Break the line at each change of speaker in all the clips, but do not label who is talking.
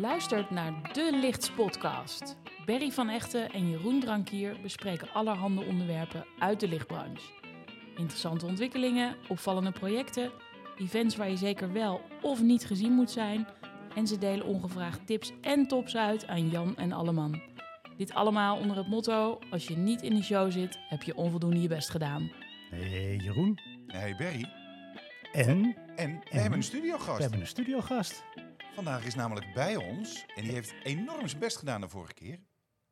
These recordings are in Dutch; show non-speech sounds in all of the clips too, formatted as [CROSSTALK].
luistert naar De Lichts Podcast. Berry van Echten en Jeroen Drankier bespreken allerhande onderwerpen uit de lichtbranche. Interessante ontwikkelingen, opvallende projecten, events waar je zeker wel of niet gezien moet zijn. En ze delen ongevraagd tips en tops uit aan Jan en Alleman. Dit allemaal onder het motto: als je niet in de show zit, heb je onvoldoende je best gedaan.
Hey Eh, Jeroen.
Hey Berry.
En
En we
En?
hebben een
Mhm. we
studiogast.
hebben een studiogast.
Vandaag is namelijk bij ons, en die heeft enorm zijn best gedaan de vorige keer,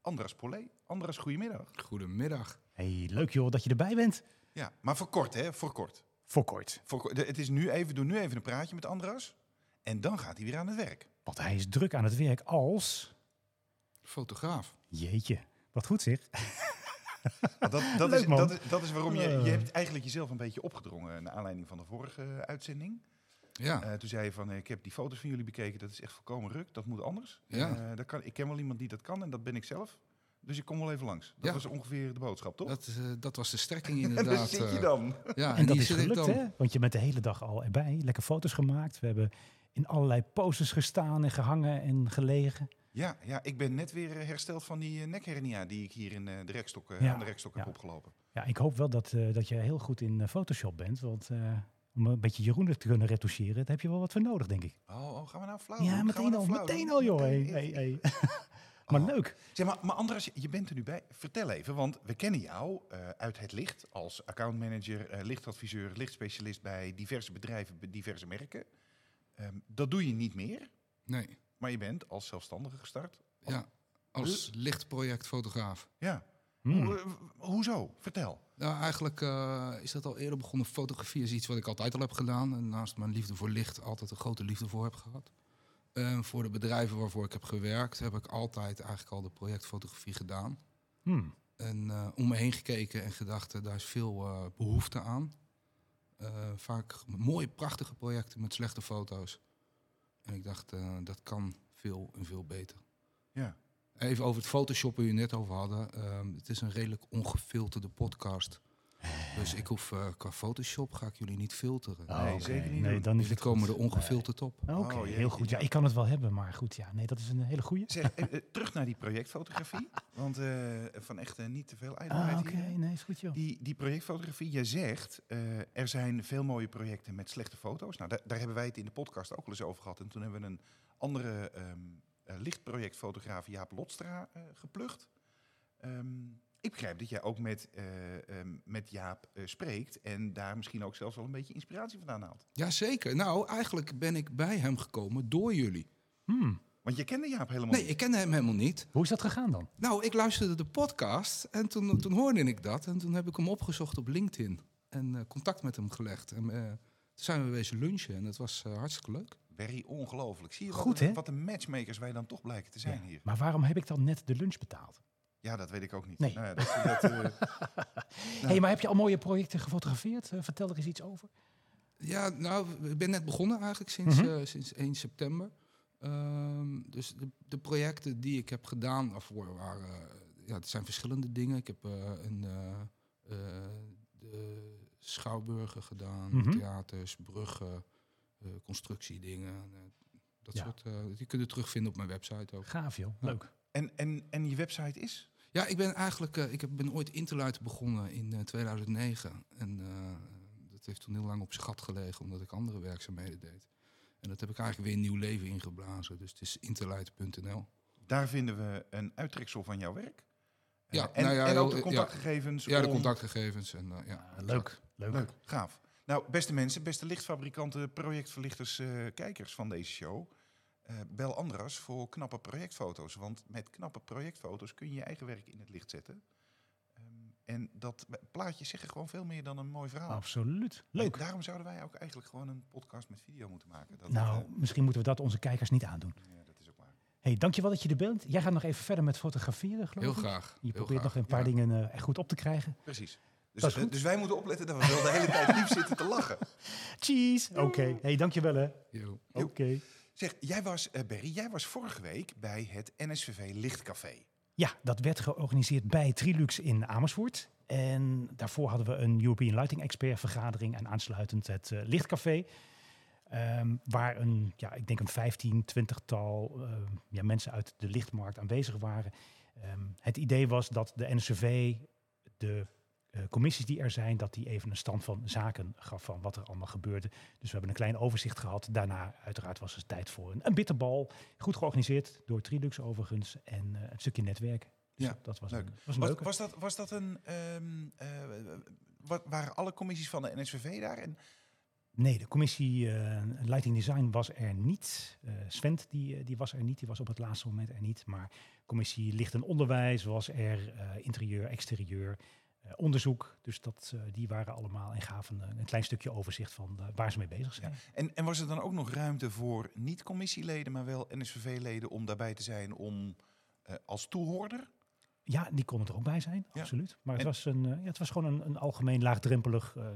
Andras Pollet. Andras, goedemiddag.
Goedemiddag.
Hey, leuk joh dat je erbij bent.
Ja, maar voor kort hè, voor kort.
Voor kort.
Voor kort. De- Het is nu even, doe nu even een praatje met Andras. En dan gaat hij weer aan het werk.
Want hij is druk aan het werk als...
Fotograaf.
Jeetje, wat goed zeg. [LAUGHS]
Want Dat, dat,
Leuk,
is,
man.
dat, is, dat is waarom je,
Eh.
je hebt eigenlijk jezelf een beetje opgedrongen naar aanleiding van de vorige eh, uitzending.
Ja,
Eh, toen zei je van, eh, ik heb die foto's van jullie bekeken, dat is echt volkomen ruk, dat moet anders.
Ja.
Eh, dat kan, ik ken wel iemand die dat kan en dat ben ik zelf. Dus ik kom wel even langs. Dat
Ja.
was ongeveer de boodschap, toch?
dat, eh, dat was de strekking
[LAUGHS] en
inderdaad.
daar zit je
eh,
dan.
Ja, en,
En dat
die
is
zit ik
gelukt
dan.
hè, want je bent de hele dag al erbij. Lekker foto's gemaakt. We hebben in allerlei poses gestaan en gehangen en gelegen.
Ja, ja, ik ben net weer eh, hersteld van die eh, nekhernia die ik hier in eh, de rekstok, eh,
Ja,
aan de rekstok
ja.
heb opgelopen.
Ja, ik hoop wel dat, eh, dat je heel goed in eh, Photoshop bent. Want eh, om een beetje Jeroen te kunnen retoucheren, daar heb je wel wat voor nodig, denk ik.
Oh, oh, gaan we nou flauw? doen?
Ja,
Gaan we
meteen
nou
al.
flauw
Meteen
doen?
al joh. Hey,
Meteen.
hey, hey. [LAUGHS] Maar
Oh.
leuk.
Zeg maar, maar Andras, je bent er nu bij. Vertel even, want we kennen jou eh, uit het licht als accountmanager, eh, lichtadviseur, lichtspecialist bij diverse bedrijven, bij diverse merken. Ehm, dat doe je niet meer,
Nee,
maar je bent als zelfstandige gestart.
ja, als lichtprojectfotograaf.
Ja.
Hmm.
Hoe- eh, hoezo? Vertel.
Nou, eigenlijk eh, is dat al eerder begonnen. Fotografie is iets wat ik altijd al heb gedaan. En naast mijn liefde voor licht altijd een grote liefde voor heb gehad. En voor de bedrijven waarvoor ik heb gewerkt, heb ik altijd eigenlijk al de projectfotografie gedaan.
Hmm.
En eh, om me heen gekeken en gedacht, eh, daar is veel eh, behoefte aan. Eh, vaak mooie, prachtige projecten met slechte foto's. En ik dacht, eh, dat kan veel en veel beter.
Ja.
Even over het Photoshop waar we het net over hadden. Ehm, het is een redelijk ongefilterde podcast. Dus ik hoef eh, qua Photoshop ga ik jullie niet filteren.
Nee,
oké.
zeker niet
Nee,
doen.
dan is
Jullie
het
komen
Ah, goed.
Oh, er ongefilterd op.
Nee. Oké,
Oh, jee.
heel goed. Ja, ik kan het wel hebben, maar goed, ja. Nee, dat is een hele goeie.
Zeg, eh, eh, terug naar die projectfotografie, want eh, van echt eh, niet te veel ijdelheid
Ah, oké.
hier.
Nee, is goed, joh.
Die, die projectfotografie, jij zegt, eh, er zijn veel mooie projecten met slechte foto's. Nou, daar, daar hebben wij het in de podcast ook al eens over gehad. En toen hebben we een andere ehm eh, lichtprojectfotograaf, Jaap Lotstra, eh, geplukt. Ehm, ik begrijp dat jij ook met, eh, ehm, met Jaap eh, spreekt en daar misschien ook zelfs wel een beetje inspiratie vandaan haalt.
Jazeker. Nou, eigenlijk ben ik bij hem gekomen door jullie.
Hmm.
Want je kende Jaap helemaal
Nee,
niet.
ik kende hem helemaal niet.
Hoe is dat gegaan dan?
Nou, ik luisterde de podcast en toen, toen hoorde ik dat. En toen heb ik hem opgezocht op LinkedIn en eh, contact met hem gelegd. En eh, toen zijn we wezen lunchen en dat was eh, hartstikke leuk.
Berry, ongelooflijk. Zie je
Goed,
wat, een-
hè?
wat de matchmakers wij dan toch blijken te zijn hier.
Maar waarom heb ik dan net de lunch betaald?
Ja, dat weet ik ook niet.
Nee.
Nou ja, dat, dat, eh, [LAUGHS]
Hé, hey, maar heb je al mooie projecten gefotografeerd? Eh, vertel er eens iets over.
Ja, nou, ik ben net begonnen eigenlijk sinds,
Mhm.
eh, sinds 1 september. Ehm, dus de, de projecten die ik heb gedaan daarvoor waren... eh, ja, het zijn verschillende dingen. Ik heb eh, een, eh, eh, de Schouwburgen gedaan,
Mhm.
theaters, bruggen, eh, constructiedingen. eh, dat
Ja.
soort, eh, die kun je terugvinden op mijn website ook.
Gaaf, joh. Leuk.
en, en, en je website is?
Ja, ik ben eigenlijk, eh, ik heb- ben ooit Interluid begonnen in eh, 2009. En eh, dat heeft toen heel lang op zijn gat gelegen, omdat ik andere werkzaamheden deed. En dat heb ik eigenlijk weer een nieuw leven ingeblazen. Dus het is interluid.nl.
Daar vinden we een uittreksel van jouw werk. Eh,
Ja,
en,
nou ja,
en ook
heel-
de contactgegevens.
Ja, de
om-
contactgegevens. En, eh, ja,
Ah, leuk. Leuk.
Leuk, gaaf. Nou, beste mensen, beste lichtfabrikanten, projectverlichters, eh, kijkers van deze show. eh, bel Andras voor knappe projectfoto's. Want met knappe projectfoto's kun je je eigen werk in het licht zetten. Ehm, en dat plaatjes zeggen gewoon veel meer dan een mooi verhaal.
Absoluut.
En
Leuk.
daarom zouden wij ook eigenlijk gewoon een podcast met video moeten maken. Dat,
Nou,
eh,
misschien moeten we dat onze kijkers niet aandoen.
ja, dat is ook waar.
Hé, hey, dankjewel dat je er bent. Jij gaat nog even verder met fotograferen, geloof
heel
ik.
graag.
Je
heel
probeert
graag.
nog een paar
Ja.
dingen eh, echt goed op te krijgen.
Precies.
Dat
Dus,
is goed.
dus wij moeten opletten dat we wel de hele tijd lief zitten te lachen.
Cheese. Oké. Hé, hey, dankjewel hè. Oké.
Yo.
Joep. Zeg, jij was, eh Berry, jij was vorige week bij het NSVV Lichtcafé.
Ja, dat werd georganiseerd bij Trilux in Amersfoort. En daarvoor hadden we een European Lighting Expert vergadering en aansluitend het eh, Lichtcafé. Eh, Ehm, waar een, ja, ik denk een 15, 20-tal ehm, ja, mensen uit de lichtmarkt aanwezig waren. Ehm, het idee was dat de NCV de eh, commissies die er zijn, dat die even een stand van zaken gaf van wat er allemaal gebeurde. Dus we hebben een klein overzicht gehad. Daarna uiteraard was het tijd voor een, een bitterbal. Goed georganiseerd door Trilux overigens en eh, een stukje netwerken. Dus
Ja,
dat- dat was
leuk.
een, was een
Was,
leuke.
was, dat, was dat een... ehm, eh, wa- waren alle commissies van de NSVV daar? En,
Nee, de commissie eh, Lighting Design was er niet. Eh Svent die, eh, die was er niet, die was op het laatste moment er niet. Maar commissie Licht en Onderwijs was er, eh, interieur, exterieur, eh, onderzoek. Dus dat, eh, die waren allemaal en gaven eh, een klein stukje overzicht van eh, waar ze mee bezig zijn.
en, en was er dan ook nog ruimte voor niet-commissieleden, maar wel NSVV-leden om daarbij te zijn om eh, als toehoorder?
Ja, die konden er ook bij zijn,
Ja.
absoluut. Maar het
En-
was, een, eh, ja, het was gewoon een, een algemeen laagdrempelig eh,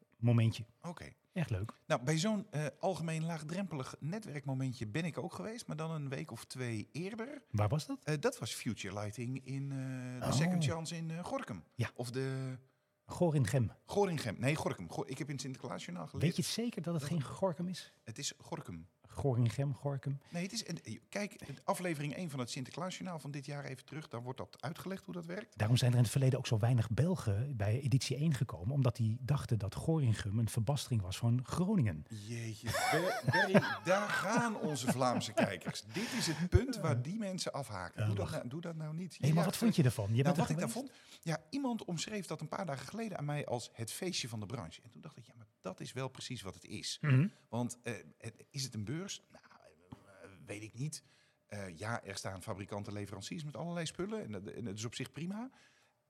netwerkmomentje.
Oké.
Echt leuk.
Nou, bij zo'n eh, algemeen laagdrempelig netwerkmomentje ben ik ook geweest, maar dan een week of twee eerder.
Waar was dat?
Eh, dat was Future Lighting in eh, de
Oh.
Second Chance in eh, Gorkum.
Ja.
Of de
Goor in Gem.
Goringem. Nee, Gorkum. Go- ik heb in het Sinterklaasjournaal geleerd.
Weet je het zeker dat het geen Gorkum is?
Het is Gorkum.
Goor in Gem, Gorkum.
Nee, het is... en, eh, Kijk, eh, aflevering 1 van het Sinterklaasjournaal van dit jaar even terug. Daar wordt dat uitgelegd hoe dat werkt.
Daarom zijn er in het verleden ook zo weinig Belgen bij editie 1 gekomen. Omdat die dachten dat Goringum een verbastering was van Groningen.
Jeetje,
[LAUGHS]
Ber- Berry, daar gaan onze Vlaamse kijkers. Dit is het punt waar die mensen afhaken.
Ja,
Doe dat
lach.
nou, doe dat nou niet.
Hé, maar
Ja,
wat vond je ervan? Je
Nou,
bent er
wat ik daar
geweest?
vond, ja, iemand omschreef dat een paar dagen geleden aan mij als het feestje van de branche. En toen dacht ik, ja, maar dat is wel precies wat het is.
Mhm.
Want eh, het- is het een beurs? Nou, eh, weet ik niet. Eh, ja, er staan fabrikanten en leveranciers met allerlei spullen. En dat, en dat is op zich prima.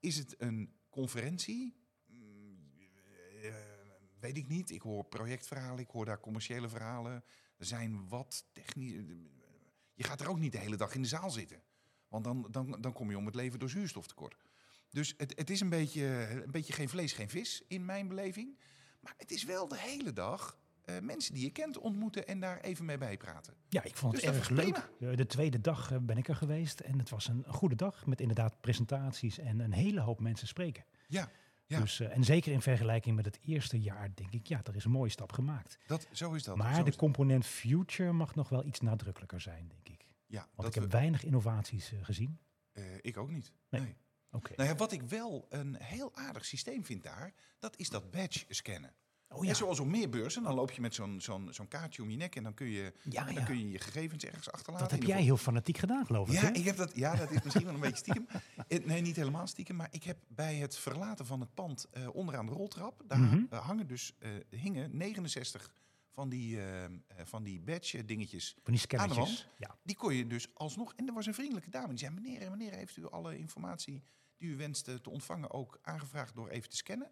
Is het een conferentie? Mm, eh, weet ik niet. Ik hoor projectverhalen, ik hoor daar commerciële verhalen. Er zijn wat technisch. Je gaat er ook niet de hele dag in de zaal zitten. Want dan, dan, dan kom je om het leven door zuurstoftekort. Dus het, het is een beetje, een beetje geen vlees, geen vis in mijn beleving. Maar het is wel de hele dag eh, mensen die je kent ontmoeten en daar even mee bijpraten.
Ja, ik vond het
Dus dat
erg
was
leuk. Eh, De tweede dag eh, ben ik er geweest en het was een goede dag met inderdaad presentaties en een hele hoop mensen spreken.
Ja, ja.
Dus, eh, en zeker in vergelijking met het eerste jaar denk ik, ja, er is een mooie stap gemaakt.
dat, zo is dat. Zo
Maar de
is dat.
component future mag nog wel iets nadrukkelijker zijn, denk ik.
Ja,
Want
dat
ik heb
we-
weinig innovaties eh, gezien.
eh, ik ook niet.
Nee.
nee.
Oké.
Nou ja, wat ik wel een heel aardig systeem vind daar, dat is dat badge scannen.
Oh ja,
En zoals op meer beurzen, dan loop je met zo'n zo'n zo'n kaartje om je nek en dan kun je
Ah, ja,
dan
ja.
kun je, je gegevens ergens achterlaten.
dat heb
Ah, in de
jij heel fanatiek gedaan, geloof ik. hè?
Ja, ik heb dat, ja, dat is misschien wel een beetje stiekem. [LAUGHS] Eh, Nee, niet helemaal stiekem. Maar ik heb bij het verlaten van het pand eh, onderaan de roltrap... daar
Mhm.
eh, hangen dus, eh, hingen 69 van die, eh, eh, van die badge dingetjes.
Van die
Aan de
scannertjes. Ja.
Die kon je dus alsnog... En er was een vriendelijke dame die zei... meneer en meneer, heeft u alle informatie die u wenst eh, te ontvangen... ook aangevraagd door even te scannen?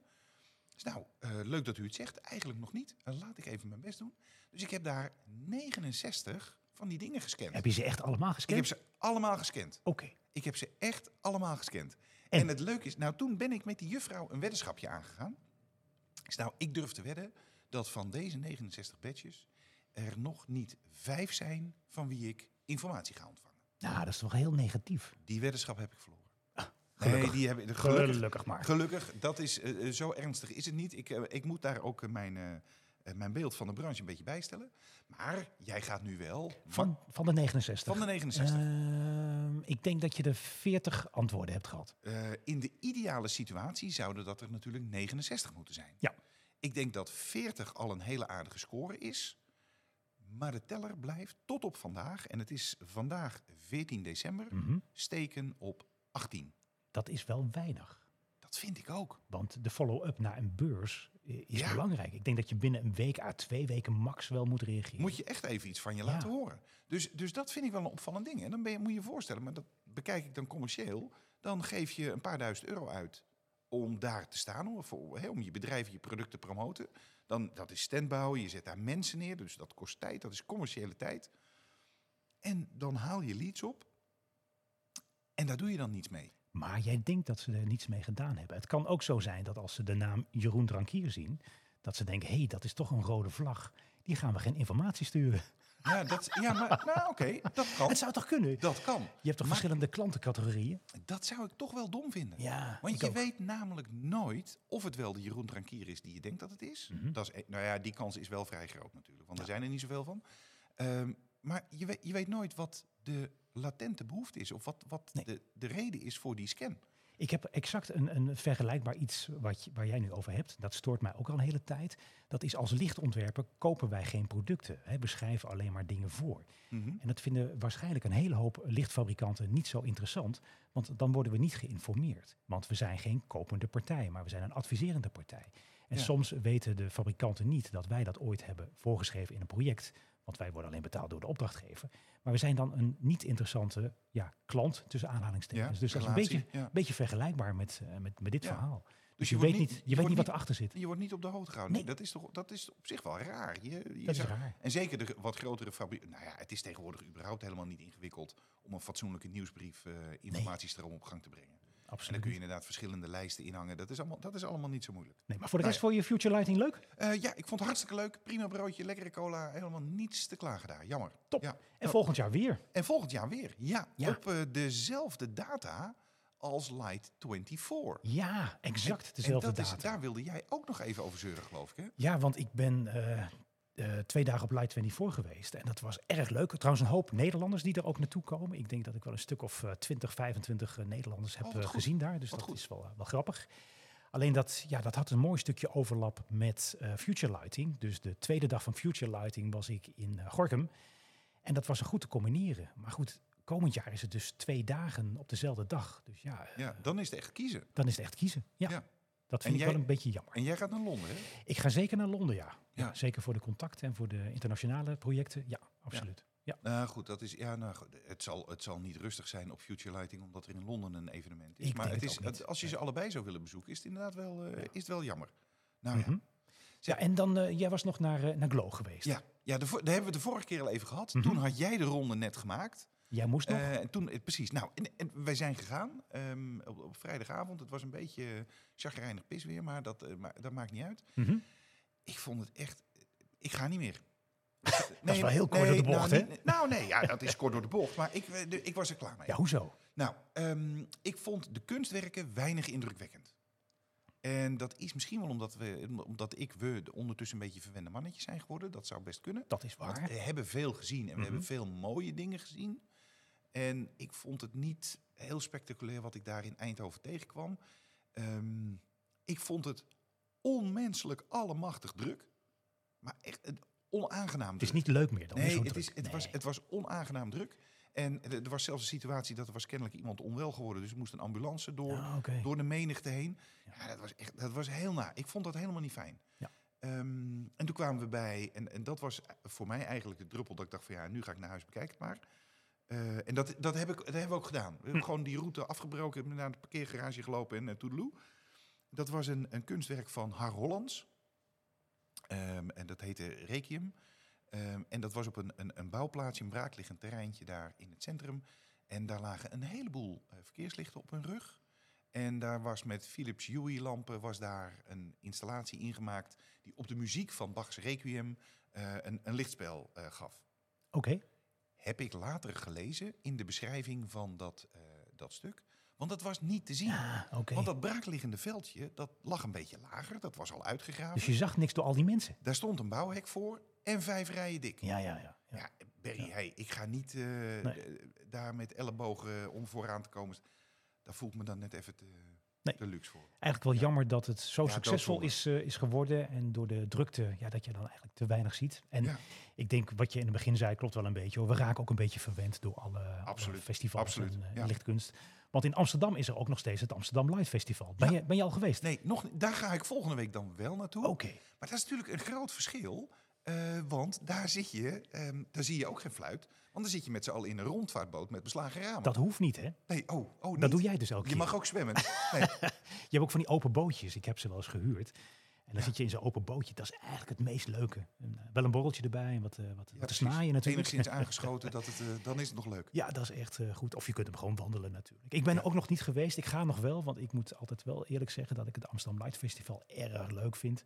Dus nou, eh, leuk dat u het zegt. Eigenlijk nog niet. Eh, laat ik even mijn best doen. Dus ik heb daar 69 van die dingen gescand.
Heb je ze echt allemaal
ik heb
gescand?
ze allemaal gescand.
Oké.
Ik heb ze echt allemaal gescand.
En?
En, het leuke is, nou toen ben ik met die juffrouw een weddenschapje aangegaan. Ik zei, nou, ik durf te wedden dat van deze 69 badges er nog niet vijf zijn van wie ik informatie ga ontvangen.
Nou, dat is toch heel negatief.
Die weddenschap heb ik verloren.
Ah, gelukkig.
Nee, die hebben gelukkig.
Gelukkig, maar.
Gelukkig, dat is, eh, eh, zo ernstig is het niet. Ik, eh, ik moet daar ook eh, mijn, eh, eh, mijn beeld van de branche een beetje bijstellen. Maar jij gaat nu wel
Van, van de 69.
van de 69.
Ehm, ik denk dat je er 40 antwoorden hebt gehad.
Eh, in de ideale situatie zouden dat er natuurlijk 69 moeten zijn.
Ja.
Ik denk dat 40 al een hele aardige score is. Maar de teller blijft tot op vandaag, en het is vandaag 14 december,
Mhm.
steken op 18.
Dat is wel weinig.
Dat vind ik ook.
Want de follow-up naar een beurs eh, is
Ja.
belangrijk. Ik denk dat je binnen een week à twee weken max wel moet reageren.
Moet je echt even iets van je
Ja.
laten horen. Dus, dus dat vind ik wel een opvallend ding. En dan ben je, moet je je voorstellen, maar dat bekijk ik dan commercieel. Dan geef je een paar duizend euro uit om daar te staan, om, voor, hè, om je bedrijf en je product te promoten. Dan, dat is standbouwen, je zet daar mensen neer, dus dat kost tijd, dat is commerciële tijd. En dan haal je leads op en daar doe je dan niets mee.
Maar jij denkt dat ze er niets mee gedaan hebben. Het kan ook zo zijn dat als ze de naam Jeroen Drankier zien, dat ze denken, hé, hey, dat is toch een rode vlag. Die gaan we geen informatie sturen.
Ja, dat, ja maar nou, oké, dat
[LAUGHS]
kan.
Het zou toch kunnen?
Dat kan.
Je hebt toch
Maar-
verschillende klantencategorieën?
Dat zou ik toch wel dom vinden.
Ja,
Want
ik
je
ook.
weet namelijk nooit of het wel de Jeroen Drankier is die je denkt dat het is.
Mhm.
dat is e- nou ja, die kans is wel vrij groot natuurlijk, want er zijn er niet zoveel van. Ehm, maar je weet, je weet nooit wat de latente behoefte is of wat, wat
Nee.
de, de reden is voor die scan.
Ik heb exact een, een vergelijkbaar iets wat, je- waar jij nu over hebt. Dat stoort mij ook al een hele tijd. Dat is als lichtontwerper kopen wij geen producten. Hè, beschrijven alleen maar dingen voor.
Mhm.
En dat vinden waarschijnlijk een hele hoop lichtfabrikanten niet zo interessant. Want dan worden we niet geïnformeerd. Want we zijn geen kopende partij, maar we zijn een adviserende partij. En
Ja.
soms weten de fabrikanten niet dat wij dat ooit hebben voorgeschreven in een project. Want wij worden alleen betaald door de opdrachtgever. Maar we zijn dan een niet interessante ja, klant tussen aanhalingstekens. dus dat is een
relatie,
beetje,
ja.
beetje vergelijkbaar met, eh, met, met dit
Ja.
verhaal. Dus,
Dus
je,
je wordt
weet
niet-
niet,
je
je weet
wordt
niet wat
niet-
erachter zit.
Je wordt niet op de hoogte gehouden. Nee,
Nee.
dat, is toch, dat is op zich wel raar. Je, je
Dat is
zou-
raar.
En zeker de gro- wat grotere fabrieken. Nou ja, het is tegenwoordig überhaupt helemaal niet ingewikkeld om een fatsoenlijke nieuwsbrief eh, informatiestroom op gang te brengen. En dan
Absoluut.
kun je inderdaad verschillende lijsten inhangen. Dat is allemaal, dat is allemaal niet zo moeilijk.
Nee, maar voor de
Nou
rest, voor je Future Lighting leuk?
Eh, ja, ik vond het hartstikke leuk. Prima broodje, lekkere cola. Helemaal niets te klagen daar. Jammer.
Top.
Ja.
En volgend jaar weer.
En volgend jaar weer. Ja,
Ja.
op eh, dezelfde data als Light 24.
Ja, exact
en
dezelfde
dat
data.
Is, daar wilde jij ook nog even over zeuren, geloof ik. Hè?
Ja, want ik ben eh, eh, twee dagen op Light 24 geweest. En dat was erg leuk. Trouwens, een hoop Nederlanders die er ook naartoe komen. Ik denk dat ik wel een stuk of eh, 20, 25 eh, Nederlanders heb
Oh, wat
eh,
goed.
gezien daar. Dus
Wat
dat
goed.
is wel, eh, wel grappig. Alleen dat, ja, dat had een mooi stukje overlap met eh, Future Lighting. Dus de tweede dag van Future Lighting was ik in eh, Gorkum. En dat was goed te combineren. Maar goed, komend jaar is het dus twee dagen op dezelfde dag. Dus ja, eh,
Ja, dan is het echt kiezen.
dan is het echt kiezen. Ja,
Ja.
dat
En
vind ik
jij-
wel een beetje jammer.
En jij gaat naar Londen, hè?
Ik ga zeker naar Londen, ja. ja.
Ja.
zeker voor de contacten en voor de internationale projecten. Ja, absoluut. Ja.
Nou goed, dat is, ja, nou, goed, het, zal, het zal niet rustig zijn op Future Lighting, omdat er in Londen een evenement is.
Ik
maar
denk
het
het
is,
ook niet.
als je ze allebei zou willen bezoeken, is het inderdaad wel, eh, is het wel jammer. Nou
Mhm.
ja.
Ja, en dan, eh, jij was nog naar, eh, naar Glow geweest.
Ja, ja de, vo- daar hebben we het de vorige keer al even gehad.
Mhm.
Toen had jij de ronde net gemaakt.
Jij moest nog.
Eh, en toen, eh, precies. Nou, en, en wij zijn gegaan ehm, op, op vrijdagavond. Het was een beetje chagrijnig pis weer, maar dat, eh, ma- dat maakt niet uit.
Mhm.
Ik vond het echt... Ik ga niet meer. dat
wel heel kort door de bocht, hè?
nou, niet- nou nee, ja, dat is kort door de bocht. Maar ik, eh, de- ik was er klaar mee.
Ja, hoezo?
Nou, ehm, ik vond de kunstwerken weinig indrukwekkend. En dat is misschien wel omdat, we, omdat ik, we de ondertussen een beetje verwende mannetjes zijn geworden. Dat zou best kunnen.
Dat is
Want
waar.
we hebben veel gezien en we
Mhm.
hebben veel mooie dingen gezien. En ik vond het niet heel spectaculair wat ik daar in Eindhoven tegenkwam. Ehm, ik vond het onmenselijk allemachtig druk. Maar echt eh, onaangenaam
Het is
druk.
niet leuk meer dan. hè,
Nee,
zo
het,
druk.
is, het, was,
Nee.
het was onaangenaam druk. En er er was zelfs een situatie dat er was kennelijk iemand onwel geworden. Dus er moest een ambulance door,
Ah, oké.
door de menigte heen.
Ja.
Ja. dat, was echt, dat was heel na. Ik vond dat helemaal niet fijn.
Ja.
Ehm, en toen kwamen we bij, en, en dat was voor mij eigenlijk de druppel dat ik dacht van ja, nu ga ik naar huis, bekijk het maar. Eh, en dat, dat, heb ik, dat hebben we ook gedaan. We hebben
Hm.
gewoon die route afgebroken, hebben naar de parkeergarage gelopen en uh, toedeloe. Dat was een, een kunstwerk van Har Hollands. Ehm, en dat heette Requiem. Ehm, en dat was op een, een, een bouwplaatsje, een braakliggend terreintje daar in het centrum. En daar lagen een heleboel eh, verkeerslichten op hun rug. En daar was met Philips Huey lampen was daar een installatie ingemaakt... die op de muziek van Bach's Requiem eh, een, een lichtspel eh, gaf.
Oké.
Heb ik later gelezen in de beschrijving van dat, eh, dat stuk. Want dat was niet te zien.
Ja, oké.
Ah, Want dat braakliggende veldje, dat lag een beetje lager. Dat was al uitgegraven.
Dus je zag niks door al die mensen.
Daar stond een bouwhek voor en vijf rijen dik.
Ja, ja, ja. ja.
Ja, Berry, hey, ik ga niet eh, eh, daar met ellebogen om vooraan te komen. Daar voel ik me dan net even te,
Nee.
te luxe voor.
Eigenlijk wel jammer dat het zo
Ja,
succesvol is,
doodzonde.
eh, is geworden. En door de drukte, ja, dat je dan eigenlijk te weinig ziet. En
Ja.
ik denk, wat je in het begin zei, klopt wel een beetje. hoor. We raken ook een beetje verwend door alle, alle
Absoluut,
festivals
absoluut,
en eh,
ja.
lichtkunst. Want in Amsterdam is er ook nog steeds het Amsterdam Light Festival. Ben,
Ja.
je, ben je al geweest?
Nee, nog, niet. daar ga ik volgende week dan wel naartoe.
Oké.
Maar dat is natuurlijk een groot verschil. eh, want daar zit je, ehm, daar zie je ook geen fluit. Want dan zit je met z'n allen in een rondvaartboot met beslagen ramen.
Dat hoeft niet, hè?
nee, oh, oh
Dat
niet.
doe jij dus elke
Je
keer.
mag ook
[LAUGHS]
zwemmen.
Je hebt ook van die open bootjes. Ik heb ze wel eens gehuurd. En dan zit je in zo'n open bootje. Dat is eigenlijk het meest leuke. En, eh, wel een borreltje erbij en wat, eh wat, wat te
precies.
snaaien natuurlijk.
Enigszins aangeschoten, dat het, eh, dan is het nog leuk.
Ja, dat is echt eh, goed. Of je kunt hem gewoon wandelen natuurlijk. Ik ben er ook nog niet geweest. Ik ga nog wel, want ik moet altijd wel eerlijk zeggen dat ik het Amsterdam Light Festival erg leuk vind.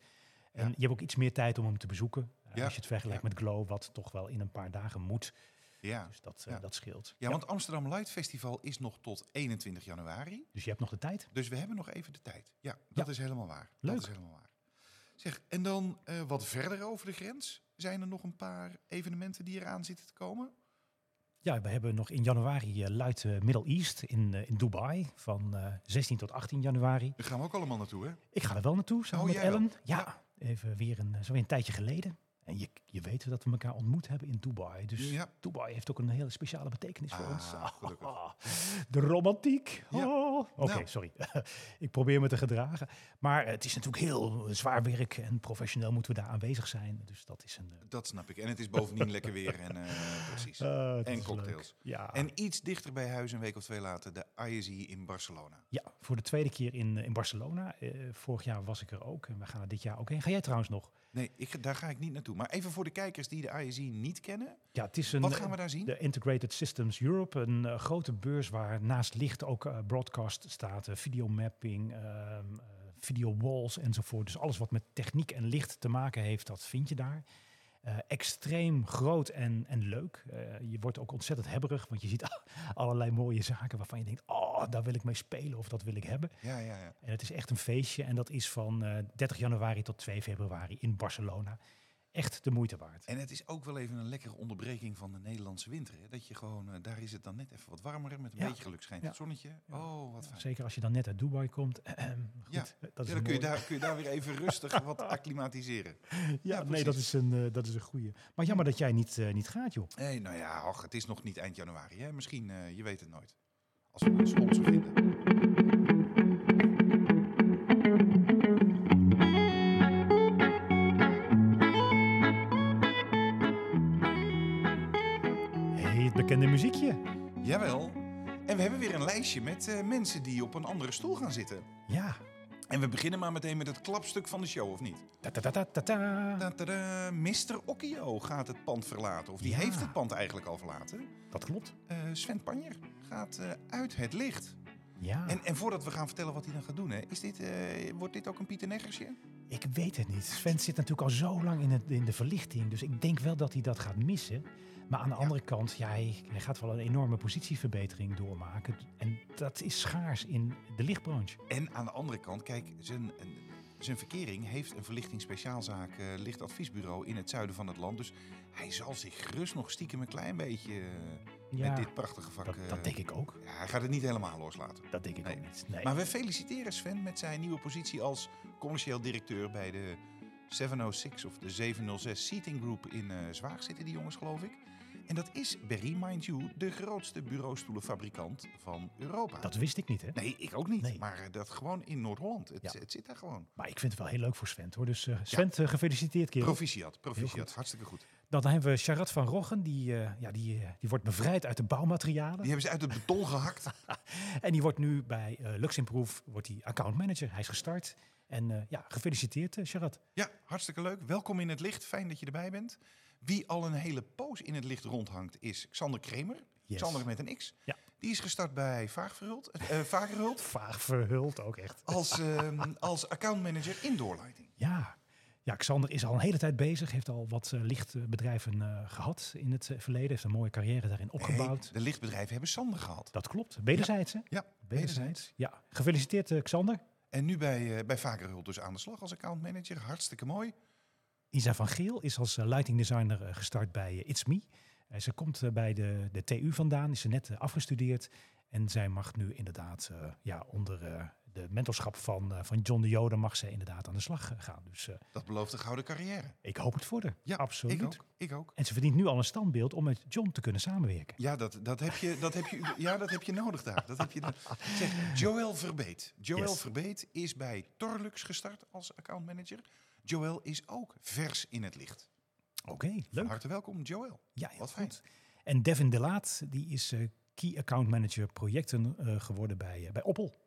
En je hebt ook iets meer tijd om hem te bezoeken. eh,
Ja,
Als je het vergelijkt
ja.
met Glow, wat toch wel in een paar dagen moet.
Ja.
Dus dat, eh,
ja.
dat scheelt.
ja, want Amsterdam Light Festival is nog tot 21 januari.
Dus je hebt nog de tijd.
Dus we hebben nog even de tijd. Ja, dat
Ja.
is helemaal waar.
Leuk.
Dat is helemaal waar. Zeg, en dan eh, wat verder over de grens. Zijn er nog een paar evenementen die eraan zitten te komen?
Ja, we hebben nog in januari eh Luid eh, Middle East in, eh, in Dubai van eh, 16 tot 18 januari.
Daar gaan we ook allemaal naartoe, hè?
Ik ga er wel naartoe samen
Oh,
met
jij wel?
Ellen. Ja, even weer een, eh, zo weer een tijdje geleden. En je, je weet dat we elkaar ontmoet hebben in Dubai. Dus
Ja.
Dubai heeft ook een hele speciale betekenis voor
Ah,
ons. [LAUGHS]
gelukkig.
De romantiek.
Ja.
Oh. Oké,
Nou.
sorry. [LAUGHS] ik probeer me te gedragen. Maar eh, het is natuurlijk heel eh, zwaar werk en professioneel moeten we daar aanwezig zijn. Dus dat is een... eh,
Dat snap ik. En het is bovendien lekker weer. En,
[LAUGHS]
eh, precies.
eh, dat
En
is leuk.
cocktails.
Ja.
En iets dichter bij huis, een week of twee later, de ISI in Barcelona.
ja, voor de tweede keer in, eh, in Barcelona. Eh, vorig jaar was ik er ook en we gaan er dit jaar ook heen. Ga jij trouwens nog?
Nee, ik, ga- daar ga ik niet naartoe. Maar even voor de kijkers die de ISI niet kennen.
Ja, het is een...
Wat gaan we daar zien?
De Integrated Systems Europe, een eh, grote beurs waar naast licht ook eh, broadcast staat, eh, videomapping, ehm, eh, videowalls enzovoort. Dus alles wat met techniek en licht te maken heeft, dat vind je daar. Eh, extreem groot en, en leuk. Eh, je wordt ook ontzettend hebberig, want je ziet [LAUGHS] allerlei mooie zaken waarvan je denkt, oh, daar wil ik mee spelen of dat wil ik hebben.
Ja, ja, ja.
En het is echt een feestje en dat is van eh, 30 januari tot 2 februari in Barcelona. Echt de moeite waard.
En het is ook wel even een lekkere onderbreking van de Nederlandse winter. Hè? Dat je gewoon, eh, daar is het dan net even wat warmer. Met een
Ja.
beetje geluk schijnt
Ja.
het zonnetje. Oh, wat fijn.
Zeker als je dan net uit Dubai komt. Eh, Goed,
Ja.
dat is
Ja,
een
dan kun je,
mooie.
daar, kun je daar weer even rustig
[LAUGHS]
wat acclimatiseren.
Ja,
Ja,
nee, dat
precies.
is een, eh, dat is een goeie. Maar jammer dat jij niet, eh, niet gaat, joh.
Nee, nou ja, och, het is nog niet eind januari. Hè? Misschien, eh, je weet het nooit. Als we een sponsor vinden.
Hey, het bekende muziekje.
Jawel. En we hebben weer een lijstje met eh, mensen die op een andere stoel gaan zitten.
Ja.
En we beginnen maar meteen met het klapstuk van de show, of niet?
Ta -ta -ta -ta -ta -ta.
Tadada, Mr. Okkio gaat het pand verlaten. Of die
Ja.
heeft het pand eigenlijk al verlaten.
Dat klopt.
Eh, Sven Panjer gaat eh, uit het licht.
Ja.
En, en voordat we gaan vertellen wat hij dan gaat doen, hè, is dit, eh, wordt dit ook een Pieter Neggersje?
Ik weet het niet. Sven zit natuurlijk al zo lang in, het, in de verlichting. Dus ik denk wel dat hij dat gaat missen. Maar aan de
Ja.
andere kant, ja, hij, hij gaat wel een enorme positieverbetering doormaken. En dat is schaars in de lichtbranche.
En aan de andere kant, kijk, zijn, een- zijn verkering heeft een verlichting speciaalzaak eh, lichtadviesbureau in het zuiden van het land. Dus hij zal zich gerust nog stiekem een klein beetje eh,
Ja,
met dit prachtige vak...
dat, dat
eh,
denk ik ook.
ja, hij gaat het niet helemaal loslaten.
Dat denk ik
Nee.
ook niet. Nee.
Maar we feliciteren Sven met zijn nieuwe positie als commercieel directeur bij de 706 of de 706 Seating Group in eh, Zwaag zitten die jongens, geloof ik. En dat is, Berry, mind you, de grootste bureaustoelenfabrikant van Europa.
Dat wist ik niet, hè?
Nee, ik ook niet.
Nee.
Maar eh, dat gewoon in Noord-Holland. Het,
Ja.
het zit daar gewoon.
Maar ik vind het wel heel leuk voor Sven, hoor. Dus eh, Sven, eh, gefeliciteerd, kerel.
Proficiat,
Heel
proficiat.
goed.
Hartstikke goed.
Dan hebben we Charat van Roggen, die, eh, ja, die, eh, die wordt bevrijd uit de bouwmaterialen.
Die hebben ze
[LAUGHS]
uit het beton gehakt.
En die wordt nu bij eh Luximproof wordt die accountmanager. Hij is gestart. En eh, ja, gefeliciteerd, eh, Charat.
Ja, hartstikke leuk. Welkom in het licht. Fijn dat je erbij bent. Wie al een hele poos in het licht rondhangt is Xander Kremer.
Yes.
Xander met een X.
Ja.
Die is gestart bij Vaagverhult, eh, eh, Vagerhult
Vaag verhuld ook echt.
als, ehm, als accountmanager in doorleiding.
Ja. ja, Xander is al een hele tijd bezig. Heeft al wat eh, lichtbedrijven eh, gehad in het eh, verleden. Heeft een mooie carrière daarin opgebouwd.
Hey, de lichtbedrijven hebben Sander gehad.
Dat klopt. Wederzijds, hè?
Ja,
Wederzijds. Ja, gefeliciteerd, eh, Xander.
En nu bij, eh bij Vagerhult dus aan de slag als accountmanager. Hartstikke mooi.
Isa van Geel is als eh, lighting designer eh, gestart bij eh, It's Me. Eh, ze komt eh, bij de, de TU vandaan, is ze net eh, afgestudeerd. En zij mag nu inderdaad eh, ja, onder eh, de mentorschap van, eh, van John de Joden... mag zij inderdaad aan de slag eh, gaan. Dus eh,
Dat belooft een gouden carrière.
ik hoop het voor haar.
Ja,
Absoluut.
Ik ook. Ik ook.
En ze verdient nu al een standbeeld om met John te kunnen samenwerken.
Ja, dat, dat, heb je, dat, heb je, ja, dat heb je nodig daar. Dat heb je daar. Zeg, Joël Verbeet. Joël
Yes.
Verbeet is bij Torlux gestart als accountmanager. Joël is ook vers in het licht.
Oké,
Van
leuk.
harte welkom, Joël.
Ja, heel
Wat fijn.
goed. En Devin De Laat, die is eh, Key Account Manager projecten eh, geworden bij, eh, bij Opel.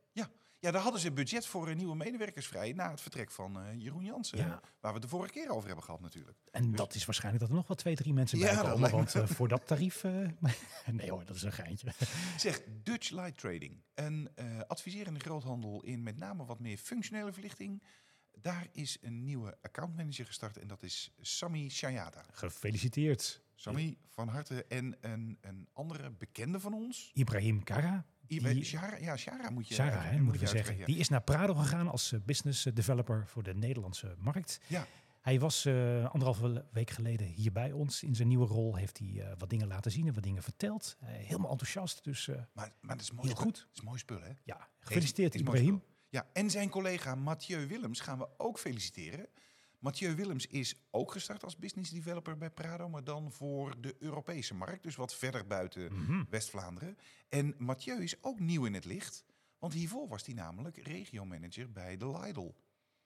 Ja, daar hadden ze budget voor eh, nieuwe medewerkers vrij na het vertrek van eh, Jeroen Jansen.
Ja.
Waar we het de vorige keer over hebben gehad natuurlijk.
En dat is waarschijnlijk dat er nog wel twee, drie mensen
Dus- Ja,
bij
dat
komen.
lijkt me.
Want eh, voor dat tarief... eh, [LAUGHS] nee hoor, dat is een geintje. [LAUGHS]
Zeg, Dutch Light Trading. Een eh, adviserende groothandel in met name wat meer functionele verlichting. Daar is een nieuwe accountmanager gestart en dat is Sammy Shayada.
Gefeliciteerd.
Sammy, van harte. En een, een andere bekende van ons,
Ibrahim Kara,
Ibe-
Die-
Shara, ja, Shara moet je
Sarah,
eigenlijk-
hè, moeten we
moet je
zeggen.
uitspreken,
Die is naar Prado gegaan als eh, business developer voor de Nederlandse markt.
Ja.
Hij was eh, anderhalve le- week geleden hier bij ons. In zijn nieuwe rol heeft hij eh, wat dingen laten zien en wat dingen verteld. Eh, helemaal enthousiast, dus eh,
ja. Maar, maar dat is mooi
heel
spul.
goed.
Dat is mooi spul, hè?
Ja, gefeliciteerd
Is- is mooi
Ibrahim.
spul. Ja, en zijn collega Mathieu Willems gaan we ook feliciteren. Mathieu Willems is ook gestart als business developer bij Prado, maar dan voor de Europese markt, dus wat verder buiten
Mhm.
West-Vlaanderen. En Mathieu is ook nieuw in het licht, want hiervoor was hij namelijk regiomanager bij de Lidl.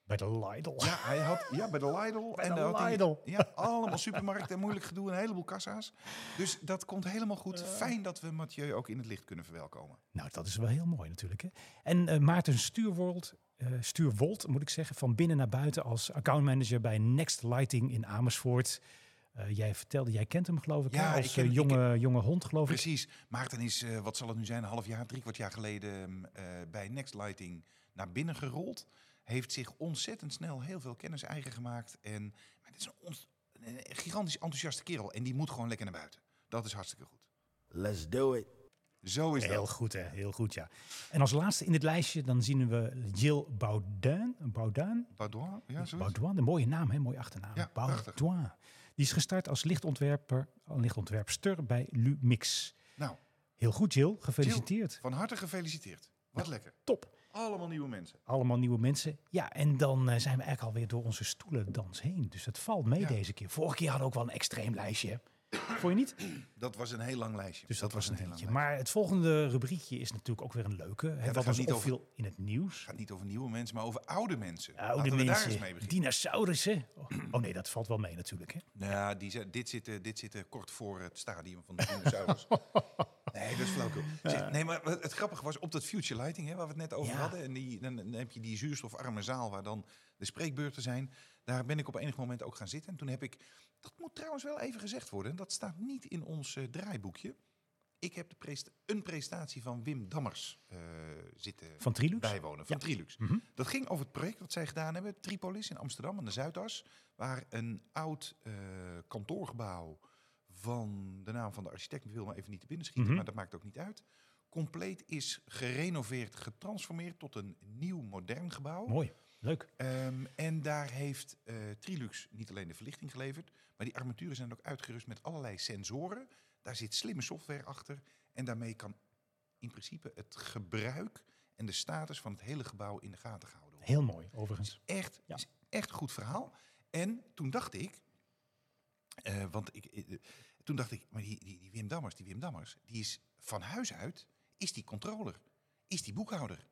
Bij de Lidl.
Ja, hij had, ja bij de Lidl.
Bij
en
de
daar had hij-
Lidl.
ja, allemaal supermarkten, moeilijk gedoe, en een heleboel kassa's. Dus dat komt helemaal goed.
Eh.
Fijn dat we Mathieu ook in het licht kunnen verwelkomen.
Nou, dat is wel heel mooi natuurlijk. Hè? En eh, Maarten Stuurwold, eh, Stuurwold, moet ik zeggen, van binnen naar buiten als accountmanager bij Next Lighting in Amersfoort. Eh, jij vertelde, jij kent hem geloof ik,
Ja,
hè,
ik
als
ken-
eh,
ik
jonge, jonge hond geloof ik.
Precies. Maarten is, eh, wat zal het nu zijn, een half jaar, drie kwart jaar geleden mm, eh, bij Next Lighting naar binnen gerold. Heeft zich ontzettend snel heel veel kennis eigen gemaakt. En maar dit is een, ont- een gigantisch enthousiaste kerel. En die moet gewoon lekker naar buiten. Dat is hartstikke goed.
Let's do it.
Zo is
Heel
dat.
goed, hè? Heel goed, ja. En als laatste in dit lijstje, dan zien we Jill Baudin. Baudin?
Baudouin? Ja, zoiets?
Baudouin, een mooie naam, hè? Mooie achternaam.
Ja, prachtig.
Baudouin. Die is gestart als lichtontwerper, lichtontwerpster bij Lumix.
Nou,
Heel goed, Jill. Gefeliciteerd.
van harte gefeliciteerd. Wat lekker.
Top.
Allemaal nieuwe mensen.
Allemaal nieuwe mensen. Ja, en dan eh, zijn we eigenlijk alweer door onze stoelendans heen. Dus dat valt mee
Ja.
deze keer. Vorige keer hadden we ook wel een extreem lijstje. hè? Vond je
[CLEARS THROAT]
niet?
Dat was een heel lang lijstje.
Dus dat, was een
heel
eentje.
lang lijstje.
Maar het volgende rubriekje is natuurlijk ook weer een leuke. hè,
dat
wat
gaat
ons
niet over-
opviel in het nieuws.
Het gaat niet over nieuwe mensen, maar over oude mensen.
Oude
Laten we daar eens
mensen,
mee beginnen.
dinosaurussen. Oh, oh nee, dat valt wel mee natuurlijk. Hè?
Nou, ja, die zijn, dit, zit, eh, dit zit eh, kort voor het stadium van de
[LAUGHS]
dinosaurus. nee, dat is flauwkul. Zeg, Nee, maar wat- het grappige was op dat Future Lighting, hè, waar we het net over
Ja.
hadden. En die, dan, dan heb je die zuurstofarme zaal waar dan de spreekbeurten zijn. Daar ben ik op enig moment ook gaan zitten. En toen heb ik, dat moet trouwens wel even gezegd worden. Dat staat niet in ons eh, draaiboekje. Ik heb de presta- een presentatie van Wim Dammers eh, zitten
Van Trilux.
bijwonen van
Ja.
Trilux.
Mhm.
Dat ging over het project wat zij gedaan hebben, Tripolis in Amsterdam aan de Zuidas, waar een oud eh, kantoorgebouw van de naam van de architect, ik wil maar even niet te binnen schieten,
Mhm.
maar dat maakt ook niet uit, compleet is gerenoveerd, getransformeerd tot een nieuw modern gebouw.
Mooi, leuk.
Ehm, en daar heeft eh, Trilux niet alleen de verlichting geleverd, maar die armaturen zijn ook uitgerust met allerlei sensoren. Daar zit slimme software achter en daarmee kan in principe het gebruik en de status van het hele gebouw in de gaten gehouden worden.
Heel mooi, overigens.
Echt,
Ja.
is echt een goed verhaal. En toen dacht ik, eh, want ik, eh, eh, toen dacht ik, maar die, die, die Wim Dammers, die Wim Dammers, die is van huis uit, is die controller, is die boekhouder.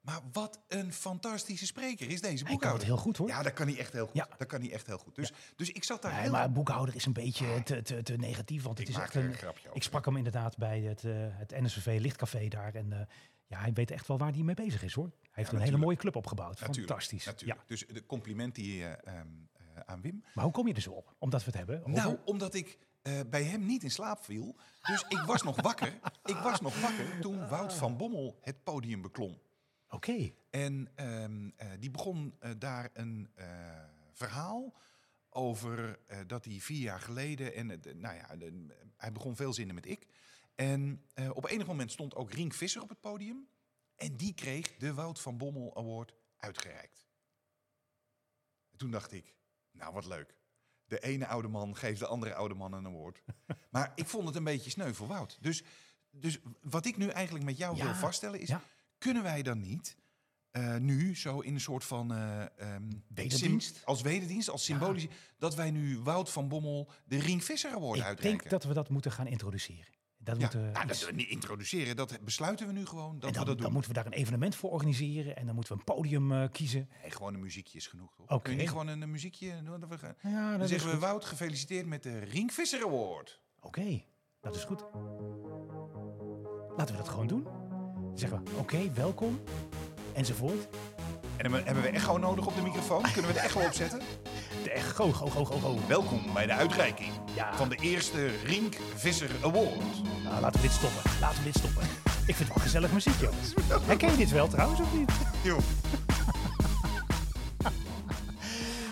Maar wat een fantastische spreker is deze
Hij kan het
boekhouder.
heel goed hoor.
Ja, dat kan hij echt heel goed.
Ja.
Dat kan hij echt heel goed. Dus, dus ik zat daar
Nee,
heel...
maar boekhouder is een beetje te, te, te negatief, want het
ik
is
maak
echt
er
een...
een grapje over.
Ik sprak hem inderdaad bij het, eh, het NSV Lichtcafé daar en eh, ja, hij weet echt wel waar hij mee bezig is hoor. Hij heeft een hele
natuurlijk.
mooie club opgebouwd.
Natuurlijk,
Fantastisch.
Natuurlijk. Dus de compliment die eh, ehm, eh, aan Wim.
Ja. Maar hoe kom je er zo op? Omdat we het hebben over...
Nou, omdat ik eh, bij hem niet in slaap viel. Dus ik was nog wakker. Ik was nog wakker toen Wout van Bommel het podium beklom.
Oké,
En ehm, eh, die begon eh, daar een eh, verhaal over eh, dat hij vier jaar geleden... En het, eh, nou ja, de- hij begon veel zinnen met ik. En eh, op enig moment stond ook Rink Visser op het podium. En die kreeg de Wout van Bommel Award uitgereikt. En toen dacht ik, nou wat leuk. De ene oude man geeft de andere oude man
[LAUGHS]
een award. maar ik vond het een beetje sneu voor Wout. Dus, dus wat ik nu eigenlijk met jou
Ja,
wil vaststellen is...
ja.
kunnen wij dan niet eh, nu zo in een soort van... eh, ehm,
Wederdienst?
sym- als wederdienst, als
Ja.
symbolisch... dat wij nu Wout van Bommel de Ring Visser Award
ik
uitreiken.
denk dat we dat moeten gaan introduceren. Dat
Ja,
moeten we
nou,
iets-
dat we niet introduceren, dat besluiten we nu gewoon. Dat
en dan,
we dat
dan
doen.
moeten we daar een evenement voor organiseren en dan moeten we een podium eh, kiezen.
Nee, gewoon een muziekje is genoeg, toch?
Oké. Nou,
Kun je niet gewoon een, eh, muziekje doen? Dat we gaan-
Ja,
Dan zeggen we, Wout, gefeliciteerd met de Ring Visser Award.
Oké, dat is goed. Laten we dat gewoon doen. Dan Zeggen we, oké, welkom, enzovoort.
En hebben we- hebben we echo nodig op de microfoon?
Ah.
Kunnen we de echo opzetten?
De echt, go, go, go, go, go.
Welkom bij de uitreiking
Ja.
van de eerste Ring Visser Award.
Nou, laten we dit stoppen, laten we dit stoppen. Ik vind het wel gezellig muziek, joh. Herken je dit wel trouwens, of niet?
Joh.